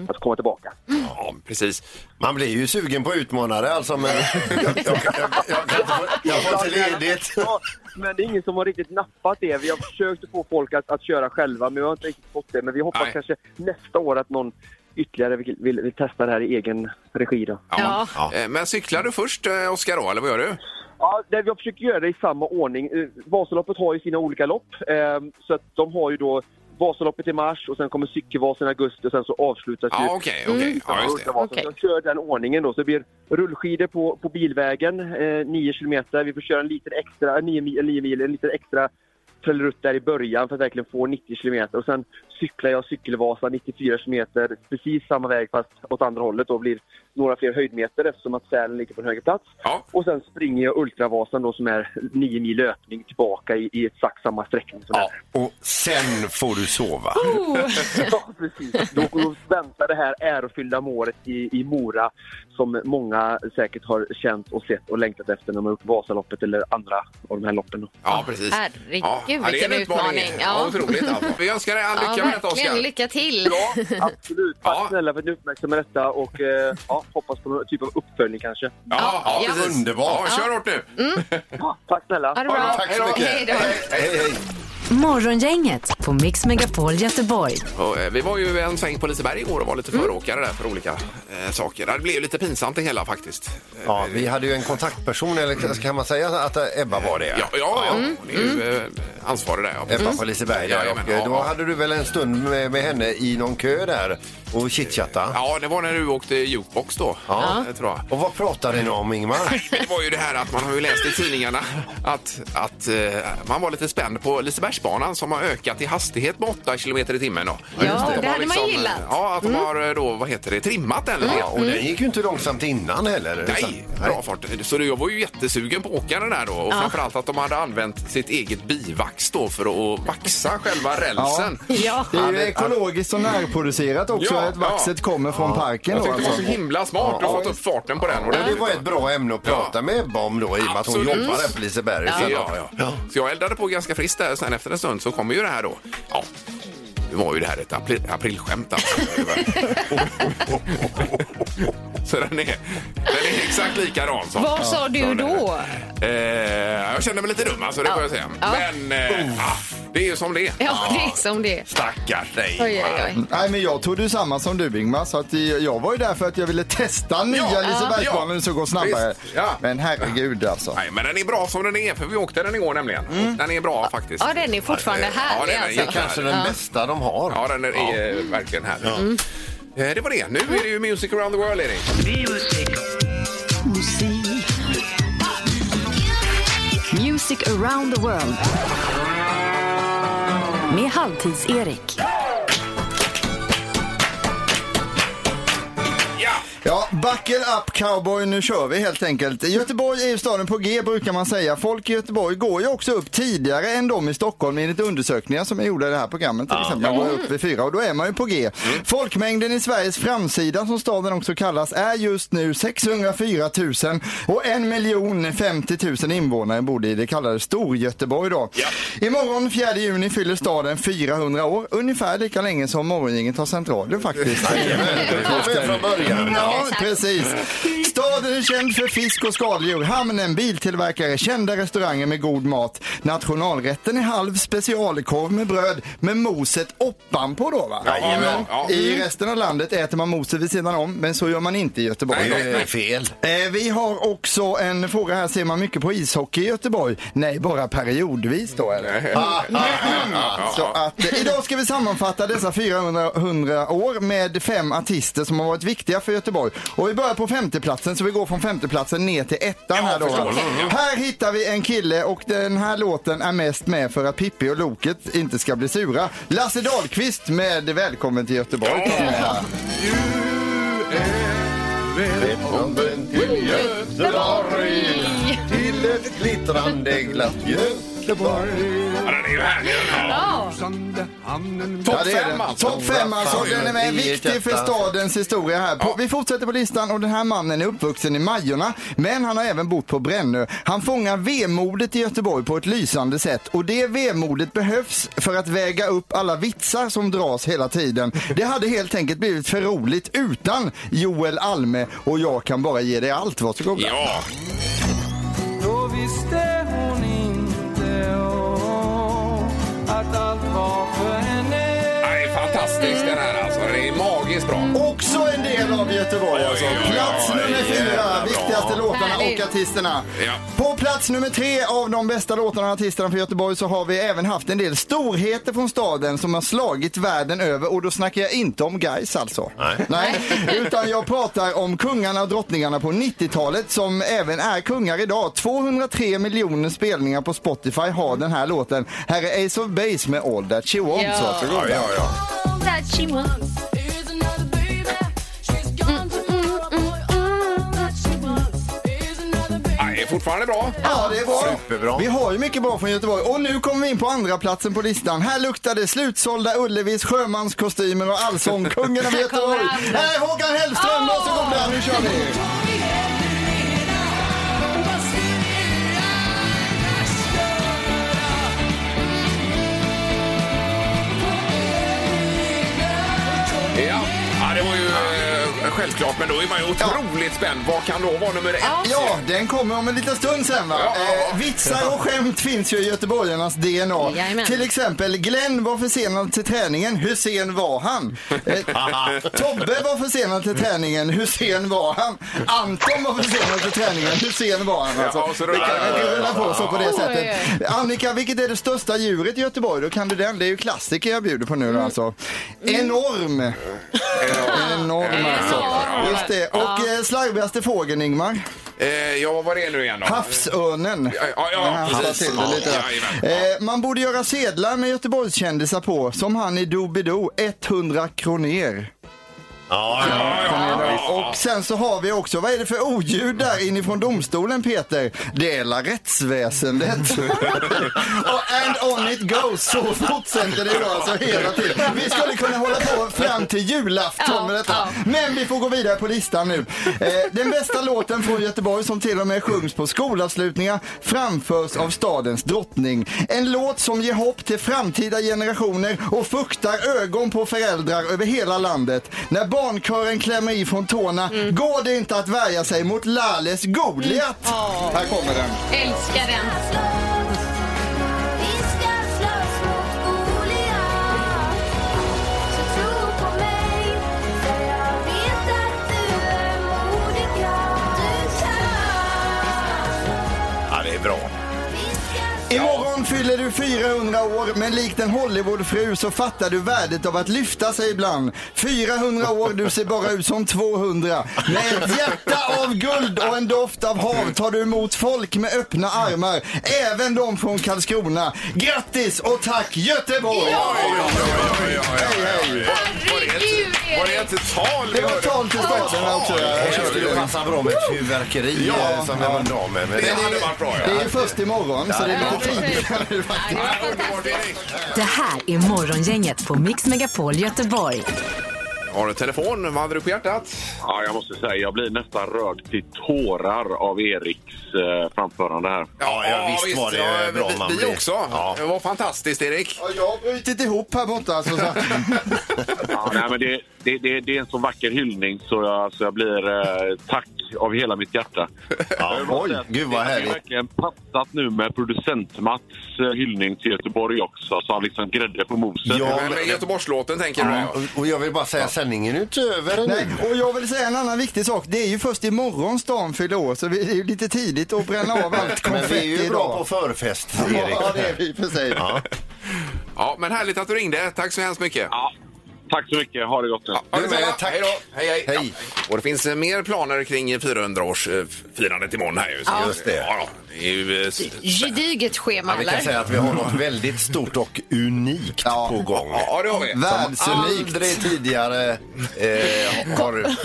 Speaker 7: att komma tillbaka.
Speaker 3: ja, precis.
Speaker 4: Man blir ju sugen på utmanare alltså, men jag, jag, jag, jag, kan inte få- jag får inte ledigt.
Speaker 7: Ja, men det är ingen som har riktigt nappat det. Vi har försökt att få folk att, att köra själva, men vi har inte riktigt fått det. Men vi hoppas
Speaker 3: Nej.
Speaker 7: kanske nästa år att någon ytterligare vill, vill, vill testa det här i egen regi. Då.
Speaker 5: Ja.
Speaker 3: Eh, Men cyklar du först, eh, Oskar, då, eller vad gör du?
Speaker 7: Ja, det vi har försökt göra det i samma ordning. Eh, Vasaloppet har ju sina olika lopp, eh, så att de har ju då Vasaloppet i mars och sen kommer cykelvasan i augusti och sen så avslutas
Speaker 4: Mm.
Speaker 7: ju
Speaker 3: Ja, okej,
Speaker 5: Mm.
Speaker 3: okej. Ja, just det.
Speaker 7: Ultravasan.
Speaker 5: Okej.
Speaker 7: Så Jag kör den ordningen då. Så det blir rullskidor på, på bilvägen, eh, 9 kilometer. Vi får köra en liten extra, 9 mil, eller 9 mil en liten extra trillerutt där i början för att verkligen få 90 kilometer. Och sen cyklar jag Cykelvasa 94 kilometer, precis samma väg fast åt andra hållet då blir några fler höjdmeter eftersom att Sälen ligger på en högre plats.
Speaker 3: Ja.
Speaker 7: Och sen springer jag Ultravasan då som är 9 mil löpning tillbaka i, i exakt samma sträckning som den.
Speaker 4: Ja, och sen får du sova.
Speaker 7: Ja, precis. Då, då väntar det här ärofyllda målet i, i Mora som många säkert har känt och sett och längtat efter när man har gjort Vasaloppet eller andra av de här loppen. då.
Speaker 3: Ja, precis.
Speaker 5: Herregud,
Speaker 3: ja, ja, det är en
Speaker 5: vilken
Speaker 3: utmaning.
Speaker 5: utmaning.
Speaker 3: Ja.
Speaker 5: Ja.
Speaker 3: otroligt alltså. Vi önskar dig all lycka
Speaker 5: Ja,
Speaker 3: med detta, Oskar.
Speaker 5: verkligen. Lycka till!
Speaker 7: Absolut. Tack
Speaker 3: Ja.
Speaker 7: snälla för att ni uppmärksammar detta och eh, ja, hoppas på någon typ av uppföljning kanske.
Speaker 3: Ja, ja,
Speaker 5: Ja. Mm.
Speaker 3: precis.
Speaker 4: Underbart.
Speaker 3: Ja, kör hårt nu.
Speaker 7: Ja, tack snälla.
Speaker 5: Ha det bra.
Speaker 4: Tack så mycket.
Speaker 5: Hej då.
Speaker 4: Hej, hej.
Speaker 2: Morgongänget på Mix Megapol Göteborg.
Speaker 3: Och, eh, vi var ju en sväng på Liseberg i år och var lite
Speaker 5: Mm.
Speaker 3: föråkare där för olika eh, saker. Det blev ju lite pinsamt det hela faktiskt. Eh,
Speaker 4: Ja, vi hade ju en kontaktperson, eller kan man säga att Ebba var det?
Speaker 3: Ja, ja, ja. det är ju eh, ansvarig där. Ja,
Speaker 4: Ebba
Speaker 3: precis.
Speaker 4: på Liseberg. där.
Speaker 3: Jajamän,
Speaker 4: Och, eh,
Speaker 3: ja,
Speaker 4: Då
Speaker 3: ja.
Speaker 4: hade du väl en stund med, med henne i någon kö där och chitchatta.
Speaker 3: Ja, det var när du åkte jukebox då.
Speaker 4: Ja.
Speaker 3: Det tror jag.
Speaker 4: Och vad pratade ni om, Ingmar?
Speaker 3: Det var ju det här att man har ju läst i tidningarna att, att eh, man var lite spänd på Lisebergsbanan som har ökat i hastighet med 8 km i timmen. Då.
Speaker 5: Ja,
Speaker 3: Att de
Speaker 5: det
Speaker 3: har
Speaker 5: hade man gillat.
Speaker 3: Ja, att de har eh, då, vad heter det, trimmat den lite
Speaker 4: Ja, och den gick ju inte långsamt innan heller. utan-
Speaker 3: Nej, bra fart. Så jag var ju jättesugen på att åka den där då. Och framförallt att de hade använt sitt eget bivax då för att vaxa själva rälsen.
Speaker 5: Ja.
Speaker 6: Det är ju ekologiskt och närproducerat också.
Speaker 3: Ja,
Speaker 6: att vaxet
Speaker 3: ja.
Speaker 6: kommer från parken.
Speaker 3: Jag
Speaker 6: Då,
Speaker 3: tyckte det var
Speaker 6: alltså.
Speaker 3: så himla smart att få upp farten på den.
Speaker 4: Ja, det var ett bra ämne att prata
Speaker 3: Ja.
Speaker 4: med Ebba om då i och med att hon
Speaker 3: Absolut.
Speaker 4: jobbar här på Liseberg.
Speaker 3: Ja,
Speaker 4: sen.
Speaker 3: ja, ja. Så jag eldade på ganska friskt där. Sen efter en stund så kommer ju det här då. Ja. Det var ju det här ett april, aprilskämt alltså. Det var- Så den är, den är exakt likadan som...
Speaker 5: Vad sa du
Speaker 3: som den.
Speaker 5: då?
Speaker 3: Eh, jag kände mig lite dum alltså, det får jag säga.
Speaker 5: Ja.
Speaker 3: Men eh, ah, det är ju som det är.
Speaker 5: Ja, det är som det är.
Speaker 3: Stackars dig.
Speaker 5: Oj, oj, oj.
Speaker 6: Nej, men jag tog det ju samma som du Ingmar, så att jag jag var ju där för att jag ville testa nya
Speaker 3: Ja,
Speaker 6: Lisebergsbanan
Speaker 3: ja.
Speaker 6: som går snabbare.
Speaker 3: Visst, ja.
Speaker 6: Men herregud alltså.
Speaker 3: Nej, men den är bra som den är, för vi åkte den igår nämligen. Den är bra faktiskt.
Speaker 5: Mm. Ja, den är fortfarande
Speaker 3: Ja,
Speaker 5: härlig
Speaker 3: den är
Speaker 5: alltså.
Speaker 3: jäkla-
Speaker 4: Kanske den bästa de har.
Speaker 3: Ja, den är eh, verkligen härlig. Eh, det var det. Nu är det ju Music around the world, Erik.
Speaker 2: Music around the world. Med Halvtids-Erik.
Speaker 3: Ja!
Speaker 6: Ja, buckle up cowboy, nu kör vi helt enkelt. Göteborg är ju staden på G brukar man säga. Folk i Göteborg går ju också upp tidigare än de i Stockholm enligt undersökningar som är gjorda i det här programmet. Till exempel man går upp vid fyra och då är man ju på G. Folkmängden i Sveriges framsida som staden också kallas är just nu 604 000 och 1 miljon 50 000 invånare bor i det kallade Storgöteborg då. Imorgon 4 juni fyller staden 400 år, ungefär lika länge som morgongänget har Centralen faktiskt.
Speaker 4: Det var med från början.
Speaker 6: Ja, precis. Staden är känd för fisk och skaldjur, hamnen, biltillverkare, kända restauranger med god mat. Nationalrätten är halv specialkorv med bröd med moset oppanpå då va?
Speaker 3: Jajamän. Ja.
Speaker 6: I resten av landet äter man moset vid sidan om, men så gör man inte i Göteborg.
Speaker 3: Nej,
Speaker 6: då.
Speaker 3: nej,
Speaker 4: Det är fel.
Speaker 6: Eh, Vi har också en fråga här, ser man mycket på ishockey i Göteborg? Nej, bara periodvis då eller? Ah, mm. Så att, eh, idag ska vi sammanfatta dessa 400 100 år med fem artister som har varit viktiga för Göteborg. Och vi börjar på femteplatsen, så vi går från femteplatsen ner till ettan här då.
Speaker 3: förstås.
Speaker 6: Här hittar vi en kille och den här låten är mest med för att Pippi och Loket inte ska bli sura. Lasse Dahlqvist med Välkommen till Göteborg.
Speaker 3: Ja.
Speaker 6: Ja.
Speaker 4: Välkommen till Göteborg, till ett glittrande glatt Göteborg.
Speaker 3: Ja, den är ju härlig den här.
Speaker 5: Ja,
Speaker 3: Topp
Speaker 6: Ja, det är
Speaker 3: fem
Speaker 6: den.
Speaker 3: alltså.
Speaker 6: Topp fem alltså. Den är med. viktig för stadens historia här. På, vi fortsätter på listan och den här mannen är uppvuxen i Majorna men han har även bott på Brännö. Han fångar vemodet i Göteborg på ett lysande sätt och det vemodet behövs för att väga upp alla vitsar som dras hela tiden. Det hade helt enkelt blivit för roligt utan Joel Alme och jag kan bara ge dig allt. Varsågoda.
Speaker 3: Ja,
Speaker 1: Då visste hon inte om att allt var för henne
Speaker 3: den är fantastisk den här alltså. Den är magiskt bra.
Speaker 6: Också en del av Göteborg alltså.
Speaker 3: Oj, oj, oj,
Speaker 6: Plats
Speaker 3: oj,
Speaker 6: nummer fyra,
Speaker 3: jävla
Speaker 6: viktigaste låtarna
Speaker 5: Härligt.
Speaker 6: och artisterna.
Speaker 3: Ja.
Speaker 6: På plats nummer tre av de bästa låtarna och artisterna för Göteborg så har vi även haft en del storheter från staden som har slagit världen över och då snackar jag inte om guys alltså. Nej. Utan jag pratar om kungarna och drottningarna på 90-talet som även är kungar idag. 203 miljoner spelningar på Spotify har den här låten. Här är Ace of Base med All That She Wants.
Speaker 5: Ja.
Speaker 6: Varsågoda.
Speaker 5: that she wants.
Speaker 3: Den är fortfarande bra.
Speaker 6: Ja, det är bra.
Speaker 4: Superbra.
Speaker 6: Vi har ju mycket bra från Göteborg. Och nu kommer vi in på andra platsen på listan. Här luktar det slutsålda Ullevis, sjömanskostymer och allsång. Kungen av Göteborg.
Speaker 5: kommer
Speaker 6: Här är Håkan Hellström. Varsågoda, nu kör vi.
Speaker 3: Ja, ja det var ju eh, självklart, men då är man ju otroligt spänd. Vad kan då vara nummer ett?
Speaker 6: Ja, den kommer om en liten stund sen. Va?
Speaker 3: Ja.
Speaker 6: Eh, vitsar och skämt finns ju i göteborgarnas DNA.
Speaker 5: Jajamän.
Speaker 6: Till exempel, Glenn var försenad till träningen. Hur sen var han? Eh, Tobbe var försenad till träningen. Hur sen var han? Anton var försenad till träningen. Hur sen var han? Alltså,
Speaker 3: Ja, och så
Speaker 6: det kan
Speaker 3: rullar det.
Speaker 6: vi rulla på så på det
Speaker 5: Oj.
Speaker 6: sättet. Annika, vilket är det största djuret i Göteborg? Då kan du den. Det är ju klassiker jag bjuder på
Speaker 3: Mm.
Speaker 6: nu då, alltså. Enorm. Enorm alltså.
Speaker 5: Enorm.
Speaker 6: Just det. Och eh, slarvigaste fågeln, Ingmar?
Speaker 3: Eh, ja, vad var det nu igen då?
Speaker 6: Havsörnen.
Speaker 3: Ja, ja, ja,
Speaker 6: Den här
Speaker 3: precis.
Speaker 6: hattar till
Speaker 3: Ja,
Speaker 6: det lite.
Speaker 3: jajamän.
Speaker 6: eh, man borde göra sedlar med Göteborgskändisar på, som han i Doobidoo, 100 kroner.
Speaker 4: Ja, ja.
Speaker 6: Och sen så har vi också, vad är det för oljud där inifrån domstolen Peter? Det är la rättsväsendet. och and on it goes, så fortsätter det idag alltså hela tiden. Vi skulle kunna hålla på fram till julafton med detta.
Speaker 5: Ja,
Speaker 6: Men vi får gå vidare på listan nu. Eh, den bästa låten från Göteborg som till och med sjungs på skolavslutningar framförs av stadens drottning. En låt som ger hopp till framtida generationer och fuktar ögon på föräldrar över hela landet. När barnkören klämmer i från tårna går det inte att värja sig mot Lales Goliat. Här kommer den.
Speaker 5: Älskar den.
Speaker 4: ja, det är bra.
Speaker 6: Imorgon fyller du 400 år, men likt en Hollywoodfru så fattar du värdet av att lyfta sig ibland. 400 år, du ser bara ut som 200. Med ett hjärta av guld och en doft av hav tar du emot folk med öppna armar, även de från Karlskrona. Grattis och tack Göteborg!
Speaker 5: Herregud,
Speaker 3: Var det
Speaker 5: Erik!
Speaker 3: inte tal vi
Speaker 6: Det var
Speaker 3: hörde?
Speaker 6: tal till staten också.
Speaker 4: Det här skulle passa bra med ett fyrverkeri
Speaker 6: Ja,
Speaker 4: eh, som vi var av med. Men
Speaker 3: Det
Speaker 4: det,
Speaker 3: hade varit bra,
Speaker 6: Det
Speaker 3: ja.
Speaker 6: är först imorgon, så det är
Speaker 5: Ja,
Speaker 6: lite
Speaker 5: precis.
Speaker 6: tidigare.
Speaker 5: Ja, det var
Speaker 3: Underbart,
Speaker 5: fantastiskt.
Speaker 3: Erik.
Speaker 2: Det här är Morgongänget på Mix Megapol Göteborg.
Speaker 3: Har du telefon? Vad hade du på hjärtat?
Speaker 10: Ja, jag måste säga, jag blir nästan rörd till tårar av Eriks eh, framförande här.
Speaker 4: Ja, ja, visst var det
Speaker 3: ja,
Speaker 4: bra
Speaker 3: vi-
Speaker 4: man
Speaker 3: Vi
Speaker 4: blir.
Speaker 3: också.
Speaker 4: Ja.
Speaker 3: Det var fantastiskt, Erik.
Speaker 6: Ja, Jag har brutit ihop här borta. Alltså, så.
Speaker 10: Ja, nej, men det, det, det, det är en så vacker hyllning så jag, så jag blir eh, tack av hela mitt hjärta.
Speaker 4: ja, oj, gud vad
Speaker 10: Det är
Speaker 4: härligt.
Speaker 10: verkligen passat nu med producent-Mats eh, hyllning till Göteborg också, så han liksom grädde på moset.
Speaker 4: Ja,
Speaker 3: Men med Göteborgslåten tänker du? ja.
Speaker 4: Och- Och jag vill bara säga, sändningen är ju inte över
Speaker 6: Nej,
Speaker 4: ännu.
Speaker 6: och jag vill säga en annan viktig sak. Det är ju först imorgon stan fyller år, så vi- det är ju lite tidigt att bränna av allt
Speaker 4: Men vi är
Speaker 6: konfetti
Speaker 4: ju bra på
Speaker 6: idag.
Speaker 4: förfest, Erik.
Speaker 6: Ja, det är vi för sig.
Speaker 3: Ja, men härligt att du ringde. Tack så hemskt mycket.
Speaker 10: Ja, tack så mycket, ha det gott nu.
Speaker 3: Ja, ha det
Speaker 4: Du
Speaker 3: samma.
Speaker 4: med, tack.
Speaker 3: Hej då. Hej, hej.
Speaker 4: Hej.
Speaker 3: Ja. Och det finns eh, mer planer kring 400-årsfirandet imorgon här ju. Så-
Speaker 4: Ja. Just det.
Speaker 3: Ja, ja. det är ju, eh, s-
Speaker 5: Gediget schema,
Speaker 4: Ja, vi kan
Speaker 5: eller?
Speaker 4: säga att vi har något väldigt stort och unikt
Speaker 6: Ja.
Speaker 4: på gång.
Speaker 3: ja, det har vi.
Speaker 6: Världsunikt.
Speaker 4: Aldrig tidigare eh, har...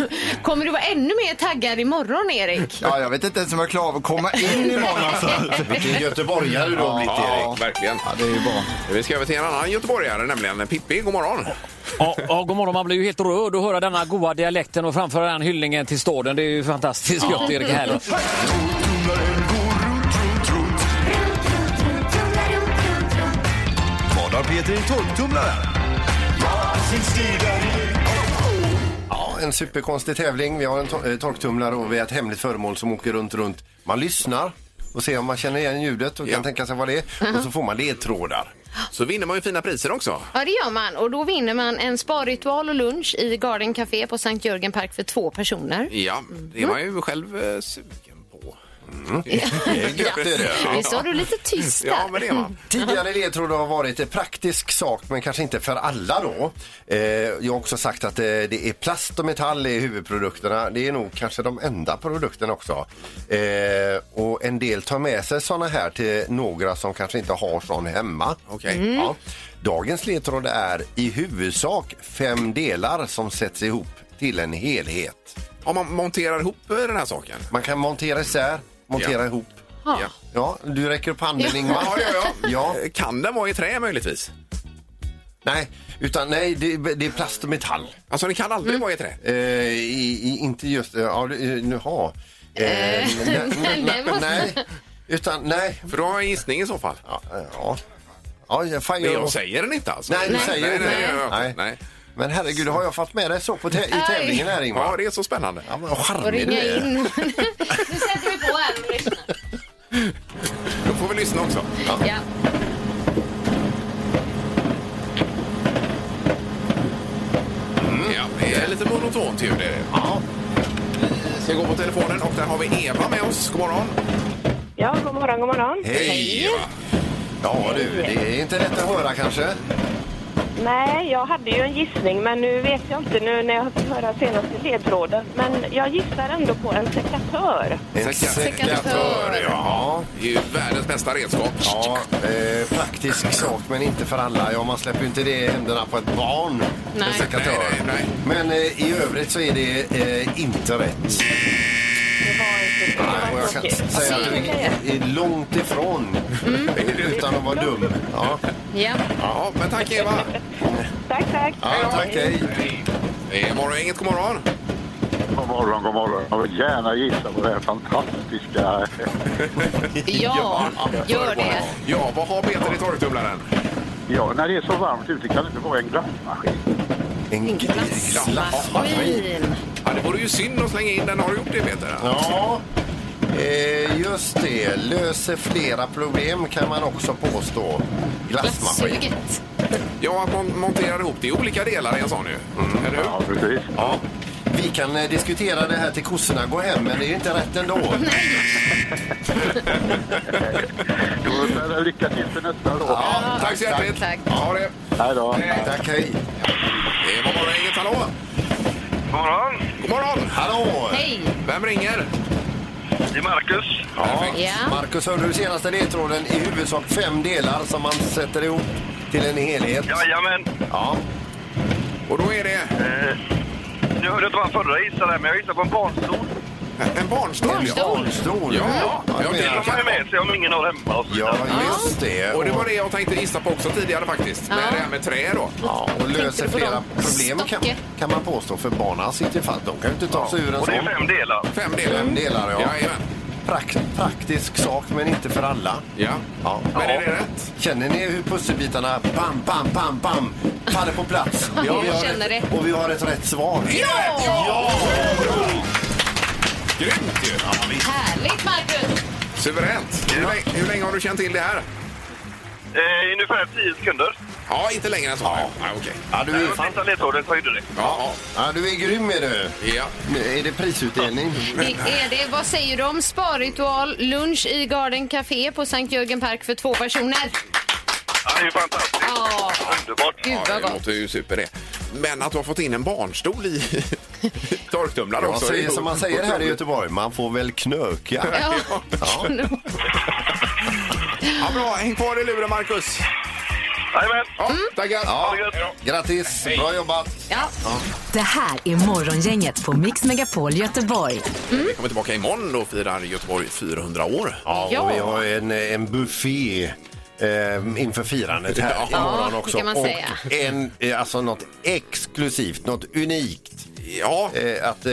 Speaker 5: Kommer du vara ännu mer taggad imorgon, Erik?
Speaker 6: Ja, jag vet inte ens om jag klarar av att komma in imorgon. Alltså.
Speaker 4: Vilken göteborgare du har blivit, Erik.
Speaker 3: Ja, verkligen.
Speaker 6: Ja, det är ju bra.
Speaker 3: Vi ska över till en annan göteborgare, nämligen Pippi. God morgon.
Speaker 11: Ja, ja, god morgon. Man blir ju helt rörd att höra denna goa dialekten och framföra den hyllningen till staden. Det är ju fantastiskt gött, Erik. Härligt.
Speaker 1: Vad har Peter i torktumlaren?
Speaker 4: Ja, en superkonstig tävling. Vi har en to- eh, torktumlare och vi har ett hemligt föremål som åker runt, runt. Man lyssnar och ser om man känner igen ljudet och
Speaker 3: Ja.
Speaker 4: kan tänka sig vad det är. Och så får man ledtrådar.
Speaker 3: Så vinner man ju fina priser också.
Speaker 5: Ja, det gör man. Och då vinner man en sparritual och lunch i Garden Café på Sankt Jörgen Park för två personer.
Speaker 3: Ja,
Speaker 4: Mm.
Speaker 3: det är man ju själv eh, sugen på.
Speaker 5: Ja. Det sa du lite tyst där.
Speaker 3: Ja, men det är
Speaker 4: Mm.
Speaker 3: man.
Speaker 4: Tidigare ledtrådar har varit en praktisk sak men kanske inte för alla då. Eh, jag har också sagt att eh, det är plast och metall i huvudprodukterna. Det är nog kanske de enda produkterna också. Eh, och en del tar med sig såna här till några som kanske inte har sån hemma.
Speaker 3: Okej.
Speaker 4: Ja. Dagens ledtråd är i huvudsak fem delar som sätts ihop till en helhet.
Speaker 3: Om man monterar ihop eh, den här saken.
Speaker 4: Man kan montera isär, montera
Speaker 3: Ja.
Speaker 4: ihop.
Speaker 5: Ja.
Speaker 4: Ja, du räcker upp handen Ingmar.
Speaker 3: Ja, ja, ja.
Speaker 4: ja.
Speaker 3: Eh, Kan den vara i trä möjligtvis?
Speaker 4: Nej, utan nej, det, det är plast och metall.
Speaker 3: Alltså den kan aldrig vara i trä.
Speaker 4: Eh, i, i, inte just... eh, Ja, nu ha. Eh, nej,
Speaker 5: nej,
Speaker 4: nej,
Speaker 5: måste-
Speaker 4: nej, utan nej.
Speaker 3: För då har jag en gissning i så fall.
Speaker 4: Ja, ja. ja jag, fan,
Speaker 3: Men
Speaker 4: jag,
Speaker 3: jag säger den inte alltså.
Speaker 4: Nej, du säger
Speaker 3: nej,
Speaker 4: inte
Speaker 3: nej,
Speaker 4: det.
Speaker 3: nej,
Speaker 4: Nej.
Speaker 3: nej.
Speaker 4: Men herregud, har jag fått med dig så på tä- i
Speaker 5: Aj.
Speaker 4: tävlingen här Ingvar?
Speaker 3: Ja, det är så spännande.
Speaker 4: Ja, men vad
Speaker 5: Får
Speaker 4: charmig
Speaker 5: ringa
Speaker 4: du är.
Speaker 5: in. nu sätter vi på här och lyssnar.
Speaker 3: Då får vi lyssna också.
Speaker 5: Ja.
Speaker 3: Mm. Ja, det är lite monotont ljud. Är det.
Speaker 4: Ja.
Speaker 3: Vi ska gå på telefonen och där har vi Eva med oss. God morgon.
Speaker 8: Ja, god morgon, god morgon.
Speaker 4: Hej Eva! Ja du, det är inte lätt att höra kanske.
Speaker 8: Nej, jag hade ju en gissning, men nu vet jag inte nu när jag fick höra senaste ledtråden. Men jag gissar ändå på en sekatör.
Speaker 4: En
Speaker 3: Sekatör,
Speaker 4: Ja,
Speaker 3: Det är ju världens bästa redskap.
Speaker 4: ja eh, praktisk sak men inte för alla. Ja, man släpper ju inte det i händerna på ett barn.
Speaker 5: Nej.
Speaker 4: En sekatör.
Speaker 3: Nej, nej, nej.
Speaker 4: Men eh, i övrigt så är det eh, inte rätt.
Speaker 8: Det var inte det.
Speaker 4: Och
Speaker 8: var
Speaker 4: Ah, jag kan
Speaker 8: tråkigt.
Speaker 4: säga att
Speaker 8: Synd
Speaker 4: du
Speaker 8: säger jag.
Speaker 4: är- är långt ifrån utan att vara dum. Ja,
Speaker 5: Ja.
Speaker 3: Ja, men tack Eva.
Speaker 8: Tack, tack.
Speaker 4: ja tack, hej.
Speaker 3: Det är morgongänget, god morgon.
Speaker 10: God morgon, god morgon. Jag vill gärna gissa på det här fantastiska... eh,
Speaker 5: ja, gör det.
Speaker 3: Ja, vad har Peter i torktumlaren?
Speaker 10: Ja, när det är så varmt ute kan det inte vara en glassmaskin.
Speaker 4: En
Speaker 5: Glassmaskin.
Speaker 3: Ja, det vore ju synd att slänga in den. Har du gjort det Peter?
Speaker 4: Ja, eh, just det. Löser flera problem kan man också påstå. Glassmaskin.
Speaker 5: Glassuget.
Speaker 3: Ja, att man monterar ihop det i olika delar i en sån ju. Mm. Eller hur?
Speaker 10: Ja, precis.
Speaker 4: Ja. Vi kan eh, diskutera det här till kossorna går hem, men det är ju inte rätt ändå.
Speaker 10: Då säger jag lycka till för nästa år.
Speaker 3: Ja, tack så hjärtligt.
Speaker 5: Tack.
Speaker 3: Ja, det.
Speaker 10: Hej då.
Speaker 3: Hej.
Speaker 4: Tack, hej.
Speaker 3: Det var morgongänget, hallå.
Speaker 10: God morgon.
Speaker 3: God morgon.
Speaker 4: Hallå!
Speaker 5: Hej.
Speaker 3: Vem ringer?
Speaker 10: Det är Marcus.
Speaker 3: Perfekt.
Speaker 5: Ja.
Speaker 4: Marcus, hörde du senaste ledtråden? I huvudsak fem delar som man sätter ihop till en helhet.
Speaker 10: Jajamän.
Speaker 4: Ja.
Speaker 3: Och då är det
Speaker 10: Nu hörde jag inte vad han förra gissade där, men jag gissade på en barnstol.
Speaker 3: en barnstol. ja.
Speaker 5: Barnstol.
Speaker 4: Stol.
Speaker 3: Ja,
Speaker 4: jag
Speaker 3: ja, det
Speaker 4: menar-
Speaker 3: är
Speaker 10: De har ju med sig om ingen har hemma. Och så
Speaker 4: ja
Speaker 10: vidare.
Speaker 4: just det.
Speaker 3: Och det var det jag tänkte gissa på också tidigare faktiskt. Med
Speaker 5: Ja.
Speaker 3: det här med trä då.
Speaker 4: Ja, och löser
Speaker 5: du på
Speaker 4: flera
Speaker 5: dem?
Speaker 4: problem kan,
Speaker 5: Stocke.
Speaker 4: kan man påstå för barnen sitter fast. De kan ju inte ta sig ur en
Speaker 10: Och det är
Speaker 4: sån.
Speaker 10: fem delar.
Speaker 3: Fem delar.
Speaker 5: Mm.
Speaker 4: Fem delar, ja.
Speaker 3: Jajamän.
Speaker 4: Prakt, praktisk sak men inte för alla.
Speaker 3: Ja.
Speaker 4: Ja.
Speaker 3: Men är det rätt?
Speaker 4: Känner ni hur pusselbitarna bam, bam, bam, bam faller på plats?
Speaker 5: Ja,
Speaker 4: Och vi
Speaker 5: jag
Speaker 4: har
Speaker 5: känner
Speaker 4: ett,
Speaker 5: det.
Speaker 4: Och vi har ett rätt svar.
Speaker 3: Ja! Grymt ju!
Speaker 5: Härligt, Marcus.
Speaker 3: Suveränt. Hur länge, hur länge har du känt till det här?
Speaker 10: Eh, ungefär tio sekunder.
Speaker 3: Ja, inte längre än så. Ja. Nej, okej.
Speaker 4: Ja, du är, fan,
Speaker 10: Sista ledtråden så höjde det.
Speaker 3: Ja,
Speaker 4: ja, du är grym är du.
Speaker 3: ja. ja.
Speaker 4: Nu Är det prisutdelning?
Speaker 5: Det är det. Vad säger du om sparritual lunch i Garden Café på Sankt Jörgen Park för två personer?
Speaker 10: Ja, det är ju fantastiskt.
Speaker 5: Ja,
Speaker 10: Underbart.
Speaker 5: gud
Speaker 3: Ja,
Speaker 5: vad
Speaker 3: det
Speaker 5: gott.
Speaker 3: låter ju super det. Men att du har fått in en barnstol i torktumlaren
Speaker 4: Jag
Speaker 3: också. det är
Speaker 4: säger
Speaker 3: ju-
Speaker 4: som man säger här i Göteborg, man får väl knöka.
Speaker 5: Ja.
Speaker 3: Ja, bra. Häng kvar i luren, Marcus.
Speaker 10: Jajamän.
Speaker 3: Ja, Tackar.
Speaker 4: Ja,
Speaker 10: det gött.
Speaker 4: grattis, bra jobbat.
Speaker 5: Ja.
Speaker 2: Det här är Morgongänget på Mix Megapol Göteborg.
Speaker 3: Vi kommer tillbaka imorgon och firar Göteborg 400 år.
Speaker 4: Ja, och vi har en, en buffé eh, inför firandet här
Speaker 3: Ja,
Speaker 4: imorgon
Speaker 5: det
Speaker 4: också.
Speaker 5: kan man
Speaker 4: och
Speaker 5: säga.
Speaker 4: en, eh, alltså något exklusivt, något unikt.
Speaker 3: Ja.
Speaker 4: Eh, att, eh,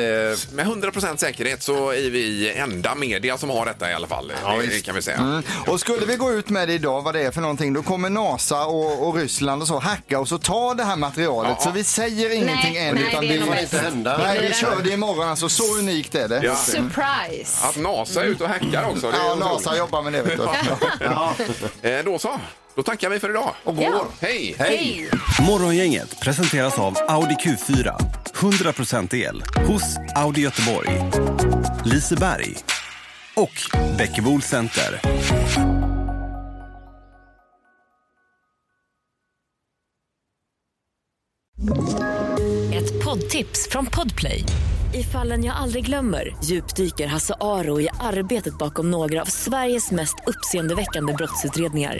Speaker 3: Med 100 säkerhet så är vi enda media som har detta i alla fall.
Speaker 4: Ja,
Speaker 3: det
Speaker 4: visst.
Speaker 3: kan vi säga.
Speaker 6: Och skulle vi gå ut med det idag, vad det är för någonting, då kommer NASA och, och Ryssland och så hacka och så ta det här materialet.
Speaker 3: Ja.
Speaker 6: Så vi säger ingenting
Speaker 5: Nej,
Speaker 6: än.
Speaker 5: nej,
Speaker 6: utan
Speaker 5: det är
Speaker 6: vi
Speaker 5: nog
Speaker 4: får
Speaker 5: bäst.
Speaker 4: inte hända.
Speaker 6: Nej,
Speaker 5: blir
Speaker 6: vi
Speaker 5: det.
Speaker 6: kör det imorgon alltså. Så unikt är det.
Speaker 3: Ja.
Speaker 5: Surprise.
Speaker 3: Att NASA är ute och hackar också. Det är
Speaker 6: Ja,
Speaker 3: otroligt.
Speaker 6: NASA jobbar med det. Vet du.
Speaker 4: ja.
Speaker 3: Eh, Då så. Då tackar vi för idag. Och
Speaker 5: går. Ja.
Speaker 3: Hej!
Speaker 5: Hej.
Speaker 12: Morgongänget presenteras av Audi Q4. 100% el hos Audi Göteborg, Liseberg och Bäckebol Center.
Speaker 2: Ett poddtips från Podplay. I fallen jag aldrig glömmer djupdyker Hasse Aro i arbetet bakom några av Sveriges mest uppseendeväckande brottsutredningar.